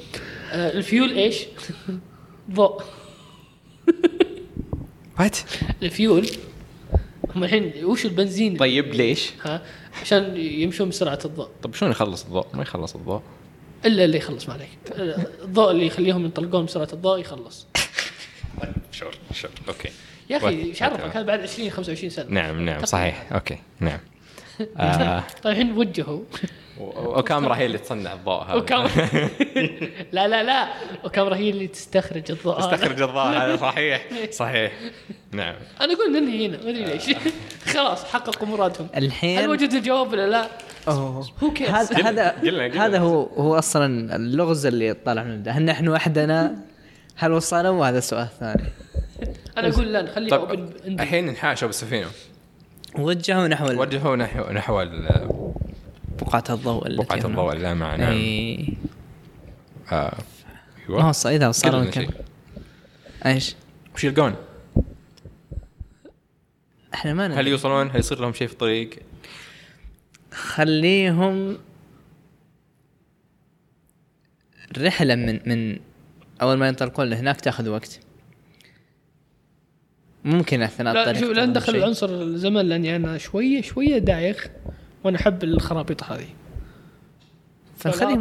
A: أه، الفيول ايش؟ ضوء
B: وات
A: الفيول هم الحين وش البنزين
B: طيب ليش؟
A: ها عشان يمشون بسرعه الضوء
B: طب شلون يخلص الضوء؟ ما يخلص الضوء
A: الا اللي يخلص ما عليك الضوء اللي يخليهم ينطلقون بسرعه الضوء يخلص
B: شور شور اوكي
A: يا اخي ايش عرفك هذا بعد 20 25 سنه
B: نعم نعم صحيح اوكي نعم
A: *laughs*
B: آه،
A: طيب الحين وجهوا
B: و- وكاميرا هي اللي تصنع الضوء هذا
A: وكاميرا لا لا لا وكاميرا هي اللي تستخرج الضوء
B: *laughs* استخرج الضوء هذا
A: *laughs*
B: صحيح صحيح نعم
A: انا اقول ننهي هنا ما ادري ليش
B: آه.
A: *laughs* خلاص حققوا مرادهم هل
C: الحين
A: وجد الجواب ولا لا؟
C: أوه.
A: Who cares؟
C: هذا
B: قلنا-
C: هذا
B: قلنا- قلنا.
C: هذا هو هو اصلا اللغز اللي طلع من البدايه هل نحن وحدنا هل وصلوا هذا السؤال الثاني
A: انا اقول لا نخليها
B: طب
A: open ended.
B: الحين انحاشوا بالسفينه
C: وجهوا نحو ال-
B: وجهوا نحو نحو ال-
C: بقعة الضوء التي
B: بقعه
C: هناك.
B: الضوء اللي معنا
C: إيه.
B: آه،
C: ما
B: ايوه
C: وصل اذا وصلوا
B: كلنا
C: نكمل
B: شيء.
C: ايش؟
B: وش يلقون؟
C: احنا ما
B: هل
C: ندري
B: يوصلون؟ هل يصير لهم شيء في الطريق؟
C: خليهم الرحلة من من أول ما ينطلقون لهناك تاخذ وقت ممكن أثناء
A: لا
C: الطريق
A: شوف لا
C: تعمل
A: ندخل
C: شيء.
A: العنصر الزمن لاني انا شويه شويه دايخ وانا احب الخرابيط هذه
C: فنخليهم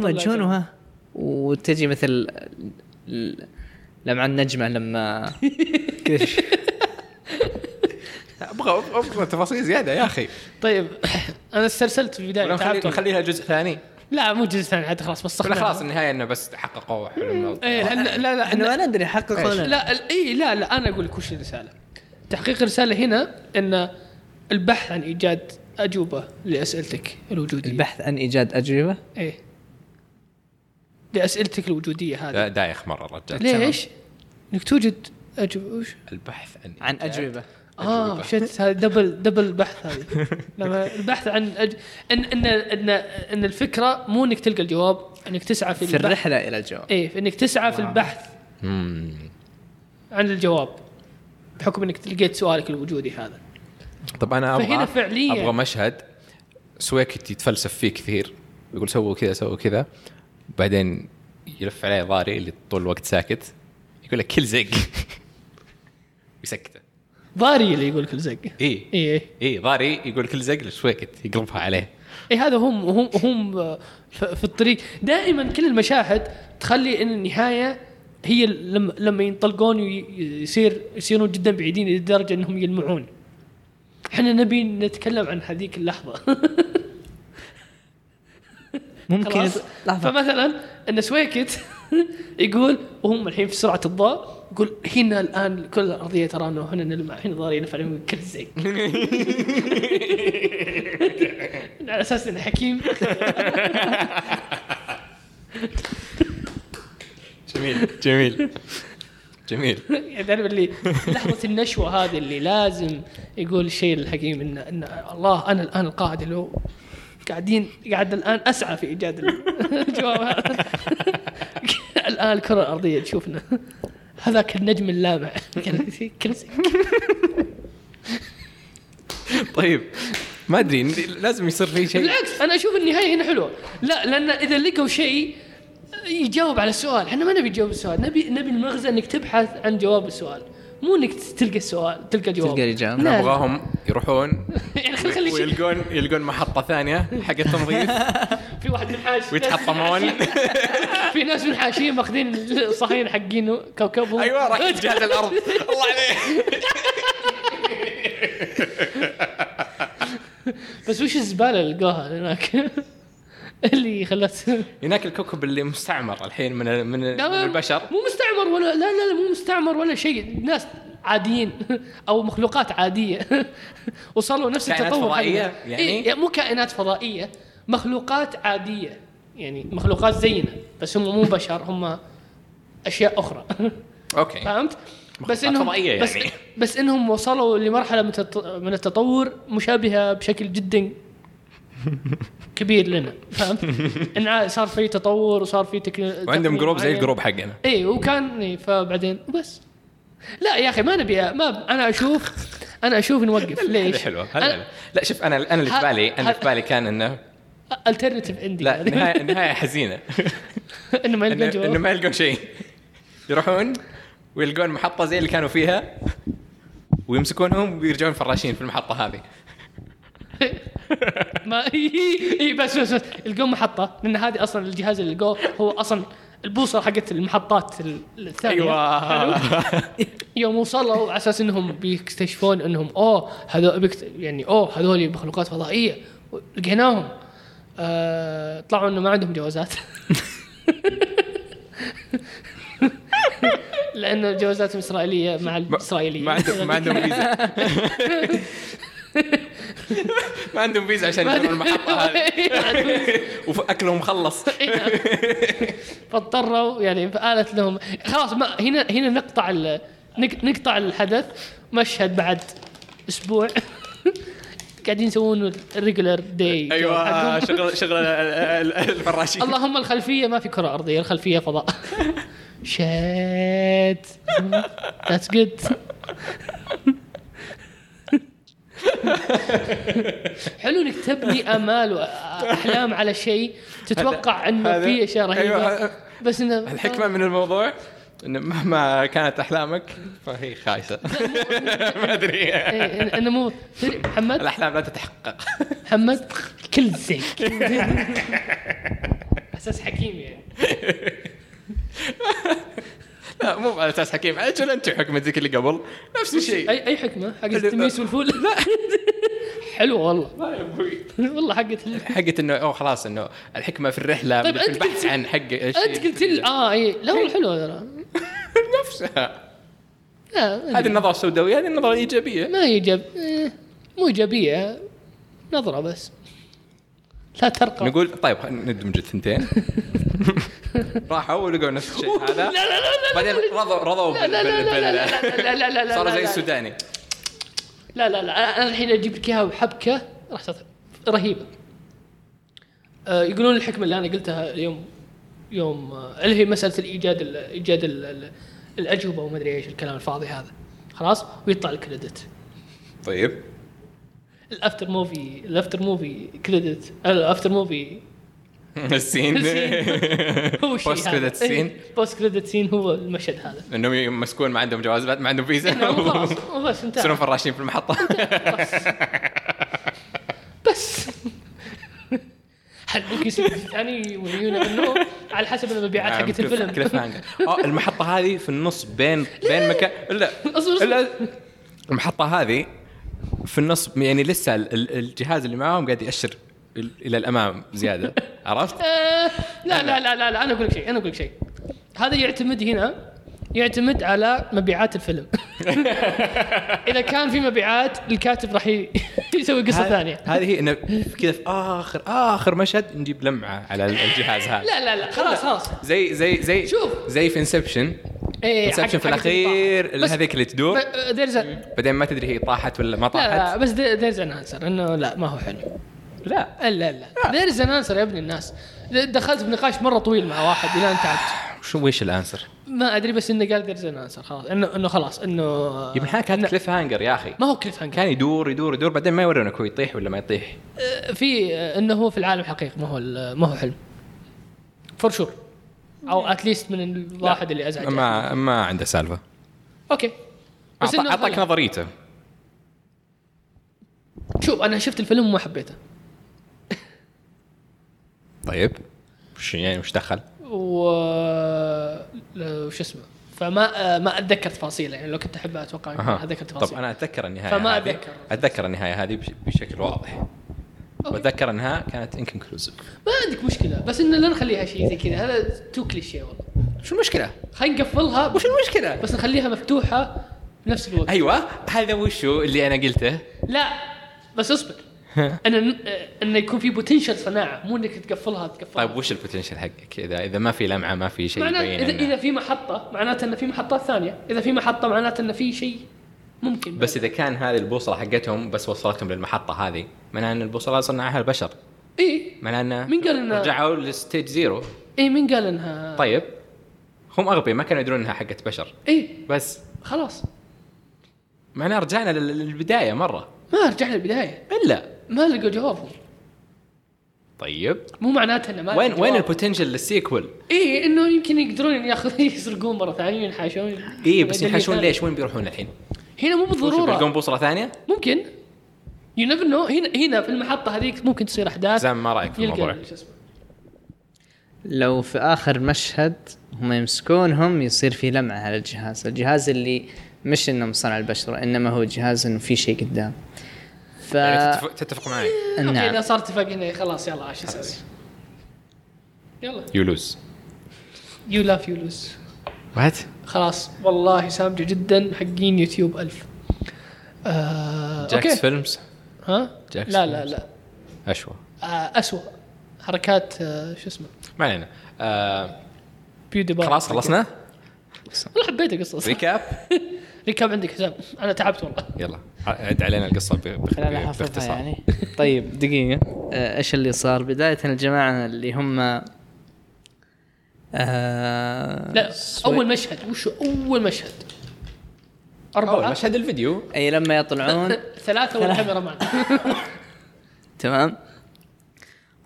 A: فلا أطلع
C: يوجهونها وتجي مثل ال- لمعة النجمة *laughs* لما
B: ابغى ابغى تفاصيل زياده يا اخي
A: طيب *coughs* انا استرسلت في البدايه تعبت والله.
B: نخليها جزء ثاني
A: لا مو جزء ثاني عاد خلاص بس
B: ولا خلاص النهايه انه بس حققوا حلم
A: ايه لا لا لا
C: احنا ما ندري حققوا
A: لا,
C: ولا لا
A: لا ال- اي لا لا انا اقول لك وش الرساله تحقيق الرساله هنا ان البحث عن ايجاد اجوبه لاسئلتك الوجوديه
C: البحث عن إيجاد أجوبة
A: ايه لاسئلتك الوجوديه هذه
B: لا، دايخ مره الرجال
A: ليش؟ انك توجد اجوبه وش؟
B: البحث عن
C: عن أجوبة
A: اه شت هذا دبل دبل بحث هذه
C: *laughs*
A: لما البحث عن أج... ان ان ان ان الفكره مو انك تلقى الجواب انك تسعى في,
C: في
A: البحث
C: الرحلة إلى الجواب
A: ايه في انك تسعى في البحث
B: مم.
A: عن الجواب بحكم انك لقيت سؤالك الوجودي هذا
B: طب انا ابغى
A: فهنا فعلياً-
B: ابغى مشهد سويكت يتفلسف فيه كثير يقول سووا كذا سووا كذا بعدين يلف عليه ظهري اللي طول الوقت ساكت يقول لك كل زق *laughs* يسكته
A: ضاري اللي يقول كل زق
B: اي
A: ايه
B: اي ظهري يقول كل زق لسويكت يقلبها عليه
A: اي إيه، هذا هم هم هم آه، ف- في الطريق دائما كل المشاهد تخلي ان النهايه هي لما لما ينطلقون وي- يصير يصيرون جدا بعيدين لدرجه انهم يلمعون. احنا نبي نتكلم عن هذيك *laughs* اللحظه
C: ممكن
A: خلاص؟
C: يط- لحظة
A: فمثلا ان سويكت *laughs* يقول وهم الحين في سرعه الضوء يقول هنا الان كل الارضيه ترانا وهنا نلمع هنا ضاري نفعل كل زي *laughs* على اساس انه حكيم
B: جميل جميل جميل
A: *laughs* يعني تعرف اللي لحظه النشوه هذه اللي لازم يقول الشيء الحكيم ان ان الله انا الان القائد اللي هو قاعدين قاعد الان اسعى في ايجاد *laughs* الجواب *laughs* هذا الان الكره الارضيه تشوفنا هذاك النجم اللامع كلمسك
B: طيب ما ادري لازم يصير في شيء
A: بالعكس انا اشوف النهايه هنا حلوه لا لان اذا لقوا شيء يجاوب على السؤال احنا ما نبي نجاوب السؤال نبي نبي المغزى انك تبحث عن جواب السؤال مو انك تلقى السؤال تلقى جواب
C: تلقى الإجابة.
A: لا،
B: انا ابغاهم يروحون
A: *laughs* يعني خلي خلي شيء
B: ويلقون يلقون محطه ثانيه حق
A: *laughs*
B: التنظيف
A: في واحد منحاش
B: ويتحطمون
A: *laughs* في ناس منحاشين ماخذين الصهاينه حقين إيه، كوكبهم
B: ايوه راح جهه الارض
A: *laughs*
B: الله عليك
A: بس وش الزباله اللي لقوها هناك *laughs* اللي خلت
B: هناك الكوكب اللي مستعمر الحين من من من البشر
A: مو مستعمر ولا لا لا لا مو مستعمر ولا شيء ناس عاديين *laughs* او مخلوقات *laughs* عاديه وصلوا نفس
B: كائنات
A: التطور
B: فضائية
A: حقنا.
B: يعني؟
A: إيه مو كائنات فضائيه مخلوقات عاديه يعني مخلوقات زينا بس هم مو بشر هم اشياء اخرى *laughs*
B: اوكي
A: فهمت؟ بس
B: مخلوقات
A: انهم
B: فضائية
A: بس,
B: يعني. *laughs*
A: بس انهم وصلوا لمرحله من التط- من التطور مشابهه بشكل جدا كبير لنا
B: *laughs*
A: فهمت؟ ان عا- صار في تطور وصار في تكنولوجيا
B: وعندهم جروب زي الجروب حقنا
A: اي وكان إيه، فبعدين وبس لا يا اخي ما نبي ما انا اشوف انا اشوف
B: *laughs*
A: نوقف ليش؟
B: هذه حلوه هذه حلوة. لا شوف انا انا اللي في
A: ه-
B: بالي انا اللي في
A: ه-
B: بالي كان انه
A: الترنتيف عندي *laughs*
B: لا نهايه نهايه حزينه
A: انه ما يلقى
B: انه
A: جواب.
B: إنه ما يلقون شيء يروحون ويلقون محطه زي اللي كانوا فيها ويمسكونهم ويرجعون فراشين في المحطه هذه
A: ما *laughs* اي اي بس بس بس لقوا محطه لان هذه اصلا الجهاز اللي لقوه هو اصلا البوصله حقت المحطات ال- الثانيه
B: أيوة.
A: يوم وصلوا على اساس انهم بيكتشفون انهم اوه هذول بيكت... يعني اوه هذول مخلوقات فضائيه لقيناهم آه... طلعوا انه ما عندهم جوازات *laughs* لانه جوازاتهم اسرائيليه مع الاسرائيليين
B: *laughs* ما عندهم ما عندهم فيزا *laughs* ما عندهم فيزا عشان يزورون المحطه هذه
A: *laughs*
B: واكلهم مخلص
A: *laughs* فاضطروا يعني فآلت لهم خلاص ما هنا هنا نقطع ال... نق- نقطع الحدث مشهد بعد اسبوع *laughs* قاعدين يسوون الريجولر داي
B: ايوه *laughs* شغل شغل ال- ال- ال-
A: *laughs*
B: الفراشين
A: اللهم الخلفيه ما في كره ارضيه الخلفيه فضاء *laughs* شات ذاتس جود *laughs* حلو انك تبني امال واحلام على شيء تتوقع انه
B: *laughs* هذا-
A: فيه اشياء رهيبه
B: أيوه.
A: بس انه
B: الحكمه من الموضوع انه مهما كانت احلامك فهي
A: *laughs*
B: خايسه *laughs* ما ادري
A: إيه، انه مو تدري، محمد
B: الاحلام لا تتحقق
A: محمد كل زين اساس حكيم يعني
B: لا مو على اساس حكيم اجل انت حكمه ذيك اللي قبل نفس الشيء
A: اي اي حكمه حقت التميس والفول حلو والله والله حقت ال-
B: حقت انه اوه خلاص انه الحكمه في الرحله
A: طيب
B: في
A: أنت
B: البحث
A: قلت-
B: عن حق
A: انت قلت لي اه اي لا والله حلو ترى
B: *laughs* نفسها
A: لا
B: هذه النظره السوداويه هذه النظره الايجابيه
A: ما يجب إيه، مو ايجابيه نظره بس لا ترقى
B: نقول طيب خلينا ندمج
A: *laughs*
B: الثنتين راحوا ولقوا نفس الشيء
A: لا لا
B: هذا
A: لا لا
B: بعدين رضوا رضوا
A: لا
B: بال
A: لا
B: بال
A: لا لا
B: بال
A: لا لا لا لا لا
B: صاروا
A: لا
B: زي
A: لا.
B: السوداني
A: لا لا لا أنا- انا الحين اجيب لك اياها بحبكه راح تطلع رهيبه آه، يقولون الحكمه اللي انا قلتها يوم يوم آه، اللي هي مساله الايجاد ال- ايجاد ال- ال- الاجوبه وما ادري ايش الكلام الفاضي هذا خلاص ويطلع الكريدت
B: طيب *laughs*
A: الافتر موفي الافتر موفي كريدت الافتر موفي
B: السين *laughs*
A: هو الشيء
B: Post credit scene.
A: *laughs* بوست كريدت سين هو المشهد هذا نعم،
B: انهم يمسكون ما عندهم جواز بعد ما عندهم فيزا
A: خلاص وبس
B: *laughs* يصيرون
A: انتهى
B: فراشين
A: *laughs*
B: في المحطه
A: بس حد ممكن يصير ثاني ويجونا بالنوم على حسب المبيعات
B: نعم،
A: حقت الفيلم
B: كليف
A: *laughs*
B: هانجر اه المحطه هذه في النص بين بين مكان لا
A: *laughs* اصبر اصبر.
B: لا المحطه هذه في النص يعني لسه ال- ال- الجهاز اللي معاهم قاعد يأشر ال- الى الامام
A: *laughs*
B: زياده عرفت؟
A: آه، لا لا لا لا لا انا اقول لك شيء انا اقول لك شيء هذا يعتمد هنا يعتمد على مبيعات
B: *laughs*
A: الفيلم اذا كان في مبيعات الكاتب راح ي- *laughs* يسوي قصه ثانيه
B: هذه هي انه كذا في اخر اخر مشهد نجيب لمعه على الجهاز هذا
A: لا لا لا خلاص خلاص
B: زي زي زي
A: شوف.
B: زي في انسبشن
A: إيه، حق-
B: انسبشن في
A: حق
B: الاخير
A: الإطاحة. بس-
B: اللي هذيك اللي تدور
A: ذيرز لا
B: بعدين ما تدري هي طاحت ولا ما طاحت
A: لا بس ذيرز ان انسر انه لا ما هو حلو
B: لا
A: الا لا ذيرز ان انسر يا ابن الناس د- دخلت بنقاش مره طويل مع واحد الى ان تعبت
B: شو وش الانسر؟
A: ما ادري بس انه قال ذيرز ان انسر خلاص انه انه خلاص انه
B: يا ابن كان كليف هانجر يا اخي
A: ما هو كليف هانجر
B: كان يدور يدور يدور بعدين ما يورونك هو يطيح ولا ما يطيح
A: في انه هو في العالم حقيقي ما هو ال- ما هو حلم فور شور او اتليست من الواحد اللي ازعج
B: ما ما عنده سالفه
A: اوكي بس
B: أعطا-
A: انه
B: اعطاك
A: غلط.
B: نظريته
A: شوف انا شفت الفيلم وما حبيته
B: طيب وش يعني وش دخل؟
A: و لا، وش اسمه فما ما اتذكر تفاصيله يعني لو كنت احبها اتوقع إني
B: أها.
A: اتذكر تفاصيله
B: طب انا اتذكر النهايه
A: فما
B: هذه.
A: أتذكر.
B: اتذكر النهايه هذه بش- بشكل واضح
A: أوكي.
B: واتذكر انها كانت انكونكلوزيف
A: ما عندك مشكله بس انه لا نخليها شيء زي كذا هذا تو كليشيه والله
B: شو المشكله؟
A: خلينا نقفلها
B: وش المشكله؟
A: بس نخليها مفتوحه بنفس الوقت
B: ايوه هذا وشو اللي انا قلته
A: لا بس اصبر
B: *laughs*
A: انا انه يكون في بوتنشل صناعه مو انك تقفلها تقفلها
B: طيب وش البوتنشل حقك اذا اذا ما في لمعه ما في شيء
A: معناته
B: يبين
A: اذا
B: إنه-
A: اذا في محطه معناته انه في محطات ثانيه اذا في محطه معناته انه في شيء ممكن
B: بس اذا كان هذه البوصله حقتهم بس وصلتهم للمحطه هذه معناها ان البوصله صنعها البشر
A: اي
B: معناها ان
A: مين قال إن- آه.
B: رجعوا لستيج زيرو
A: اي إيه، مين قال انها
B: طيب هم اغبياء ما كانوا يدرون انها حقت بشر
A: اي
B: بس
A: إيه، خلاص
B: معناها رجعنا لل- للبدايه مره
A: ما رجعنا للبدايه
B: الا
A: ما لقوا جوابهم
B: طيب
A: مو معناته انه ما
B: وين وين البوتنشل للسيكول؟
A: اي انه إيه، يمكن يقدرون ياخذ *laughs* يسرقون مره ثانيه ينحاشون
B: اي إيه، بس
A: يدلي
B: ينحشون
A: ثاني.
B: ليش؟ وين بيروحون الحين؟
A: هنا مو
B: وش
A: بالضروره
B: بيلقون بوصله ثانيه؟
A: ممكن يو نيفر نو هنا هنا في المحطه هذيك ممكن تصير احداث
B: زين ما رايك في الموضوع؟
A: يلقى شو اسمه
C: لو في اخر مشهد هم يمسكونهم يصير في لمعه على الجهاز الجهاز اللي مش انه مصنع البشر انما هو جهاز انه في شيء قدام ف
B: يعني تتفق- تتفق معي
A: اوكي اذا
C: نعم
A: صار اتفاق هنا خلاص يلا شو اسمه يلا
B: يولوز
A: يو لاف يو لوز
B: وات؟
A: خلاص والله سامجه جدا حقين يوتيوب ألف آه، أوكي.
B: جاكس فيلمز
A: ها
B: جاكس
A: لا لا
B: فيلمز.
A: لا
B: اشوى
A: آه أسوأ حركات آه شو اسمه
B: ما علينا آه،
A: بيودي بار
B: خلاص خلصنا
A: والله حبيت القصه صراحة.
B: ريكاب
A: ريكاب عندك حساب انا تعبت والله
B: يلا عد علينا القصه ب- ب-
C: لا لا حافظها يعني *laughs* طيب دقيقة آه، ايش اللي صار؟ بداية الجماعة اللي هم آه
A: لا
C: سوي-
A: اول مشهد وش اول مشهد؟
B: اول
A: اربعه
B: مشهد الفيديو
C: اي لما *laughs* يطلعون
A: ثلاثه والكاميرا
C: *laughs*
A: معنا
C: تمام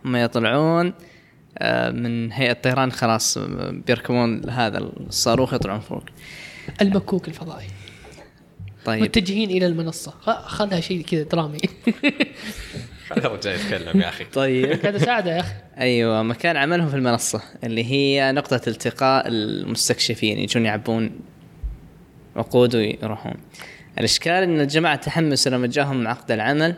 C: هم يطلعون آه، من هيئة الطيران خلاص آه، بيركبون هذا الصاروخ يطلعون فوق
A: المكوك الفضائي
C: طيب
A: متجهين الى المنصه خ- خلها شيء كذا
C: *laughs*
A: درامي
B: هذا الرجال يتكلم يا اخي
C: طيب
A: قاعد اساعده يا اخي
C: ايوه مكان عملهم في المنصة اللي هي نقطة التقاء المستكشفين يجون يعبون وقود ويروحون الاشكال ان الجماعة تحمسوا لما جاهم عقد العمل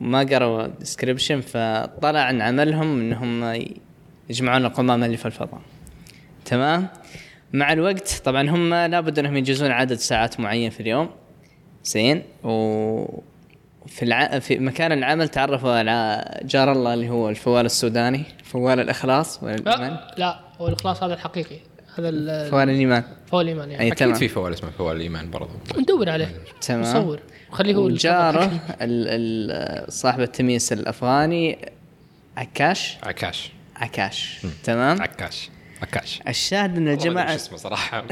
C: وما قروا الديسكربشن فطلع عن عملهم انهم يجمعون القمامة اللي في الفضاء تمام مع الوقت طبعا هم لابد انهم ينجزون عدد ساعات معين في اليوم زين و في الع... في مكان العمل تعرفوا على جار الله اللي هو الفوال السوداني فوال الاخلاص والايمان
A: لا آه، لا هو الخلاص هذا الحقيقي هذا ال-
C: فوال الايمان
A: فول ايمان يعني
C: أي.
B: اكيد
C: تمام.
B: في فوال اسمه فوال الايمان برضو
A: ندور عليه
C: تمام.
A: نصور خليه هو الخبر.
C: وجاره ال- ال- صاحب التميس الافغاني عكاش
B: عكاش
C: عكاش تمام
B: عكاش عكاش
C: الشاهد
B: والله
C: ان
B: ما أدري
C: الجماعه
B: شو اسمه صراحه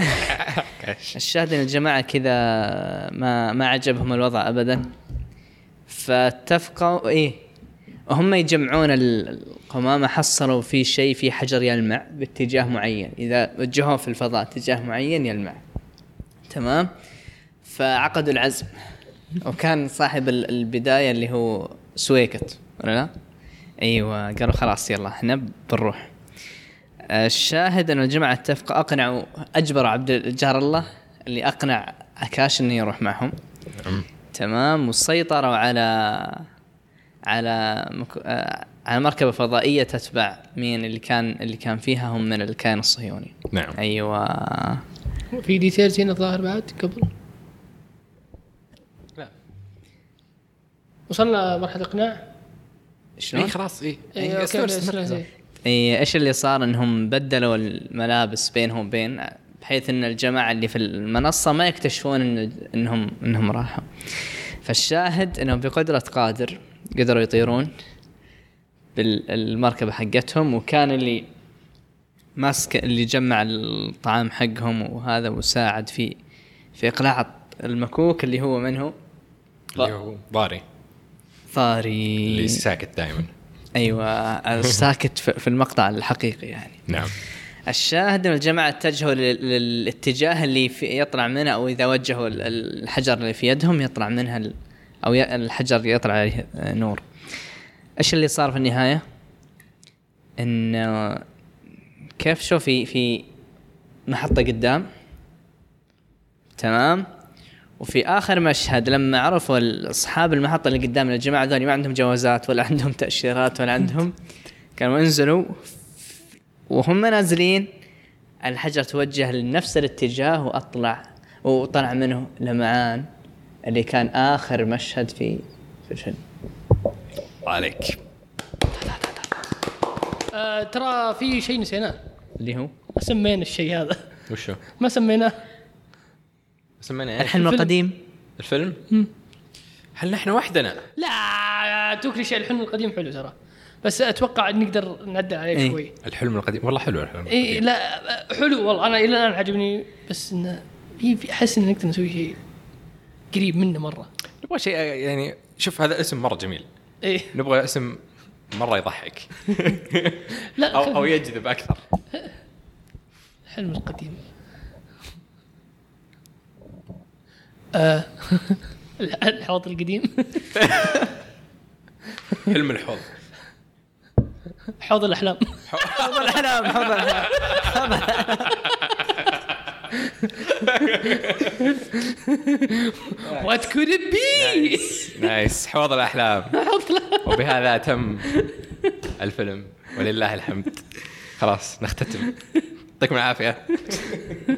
B: عكاش
C: الشاهد ان الجماعه كذا ما ما عجبهم الوضع ابدا فاتفقوا ايه هم يجمعون ال- القمامه حصلوا في شيء في حجر يلمع باتجاه معين اذا وجهوه في الفضاء اتجاه معين يلمع تمام فعقدوا العزم وكان صاحب ال- البدايه اللي هو سويكت ولا لا؟ ايوه قالوا خلاص يلا احنا بنروح الشاهد ان الجماعه اتفقوا اقنعوا اجبروا عبد الجار الله اللي اقنع عكاش انه يروح معهم تمام وسيطروا على على مك... آه، على مركبه فضائيه تتبع مين اللي كان اللي كان فيها هم من الكيان الصهيوني
B: نعم
C: ايوه
A: *laughs* في ديتيلز هنا الظاهر بعد قبل
B: لا
A: وصلنا مرحله اقناع
B: اي
C: شلون؟
B: خلاص اي
A: إيه،
B: إي،
A: أوكي،
B: استمر،
A: بس-
B: استمر، استمر.
C: اي ايش اللي صار انهم بدلوا الملابس بينهم وبين بحيث ان الجماعه اللي في المنصه ما يكتشفون ان انهم انهم راحوا. فالشاهد انهم بقدره قادر قدروا يطيرون بالمركبه حقتهم وكان اللي ماسك اللي جمع الطعام حقهم وهذا وساعد في في اقلاع المكوك اللي هو من هو؟
B: اللي هو ضاري
C: ثاري
B: اللي ساكت دائما
C: ايوه ساكت في في المقطع الحقيقي يعني
B: نعم
C: الشاهد ان الجماعه اتجهوا لل- للاتجاه اللي في يطلع منه او اذا وجهوا ال- ال- الحجر اللي في يدهم يطلع منها ال- او ي- الحجر يطلع عليه آه، نور. ايش اللي صار في النهايه؟ انه كيف شو في في محطه قدام تمام وفي اخر مشهد لما عرفوا ال- اصحاب المحطه اللي قدام الجماعه ذولي ما عندهم جوازات ولا عندهم تاشيرات ولا عندهم كانوا انزلوا وهم نازلين الحجر توجه لنفس الاتجاه واطلع وطلع منه لمعان اللي كان اخر مشهد في في الفيلم
B: عليك
A: آه ترى في شيء نسيناه
C: اللي هو
A: ما سمينا الشيء هذا
B: وشو؟
A: ما سميناه
B: سمينا ايش؟
C: الحلم
A: الفيلم.
C: القديم
B: الفيلم؟ هل نحن وحدنا؟
A: لا توك شيء الحلم القديم حلو ترى بس اتوقع إن نقدر نعدل عليه
C: إيه.
A: شوي
B: الحلم القديم والله حلو الحلم
A: اي
B: القديم
A: لا آه، حلو والله انا الى الان عجبني بس انه في- في- احس ان نقدر نسوي شيء قريب منه مره
B: نبغى شيء يعني شوف هذا الاسم مره جميل
A: ايه
B: نبغى اسم مره يضحك
A: لا
B: او او يجذب اكثر
A: الحلم القديم آه *laughs* الحوض القديم
B: حلم الحوض
A: حوض الاحلام
C: حضر *laughs* الحلم حضر
A: وات كود ات بي *laughs*
B: نايس حوض الاحلام وبهذا تم الفيلم ولله الحمد خلاص نختتم يعطيكم العافيه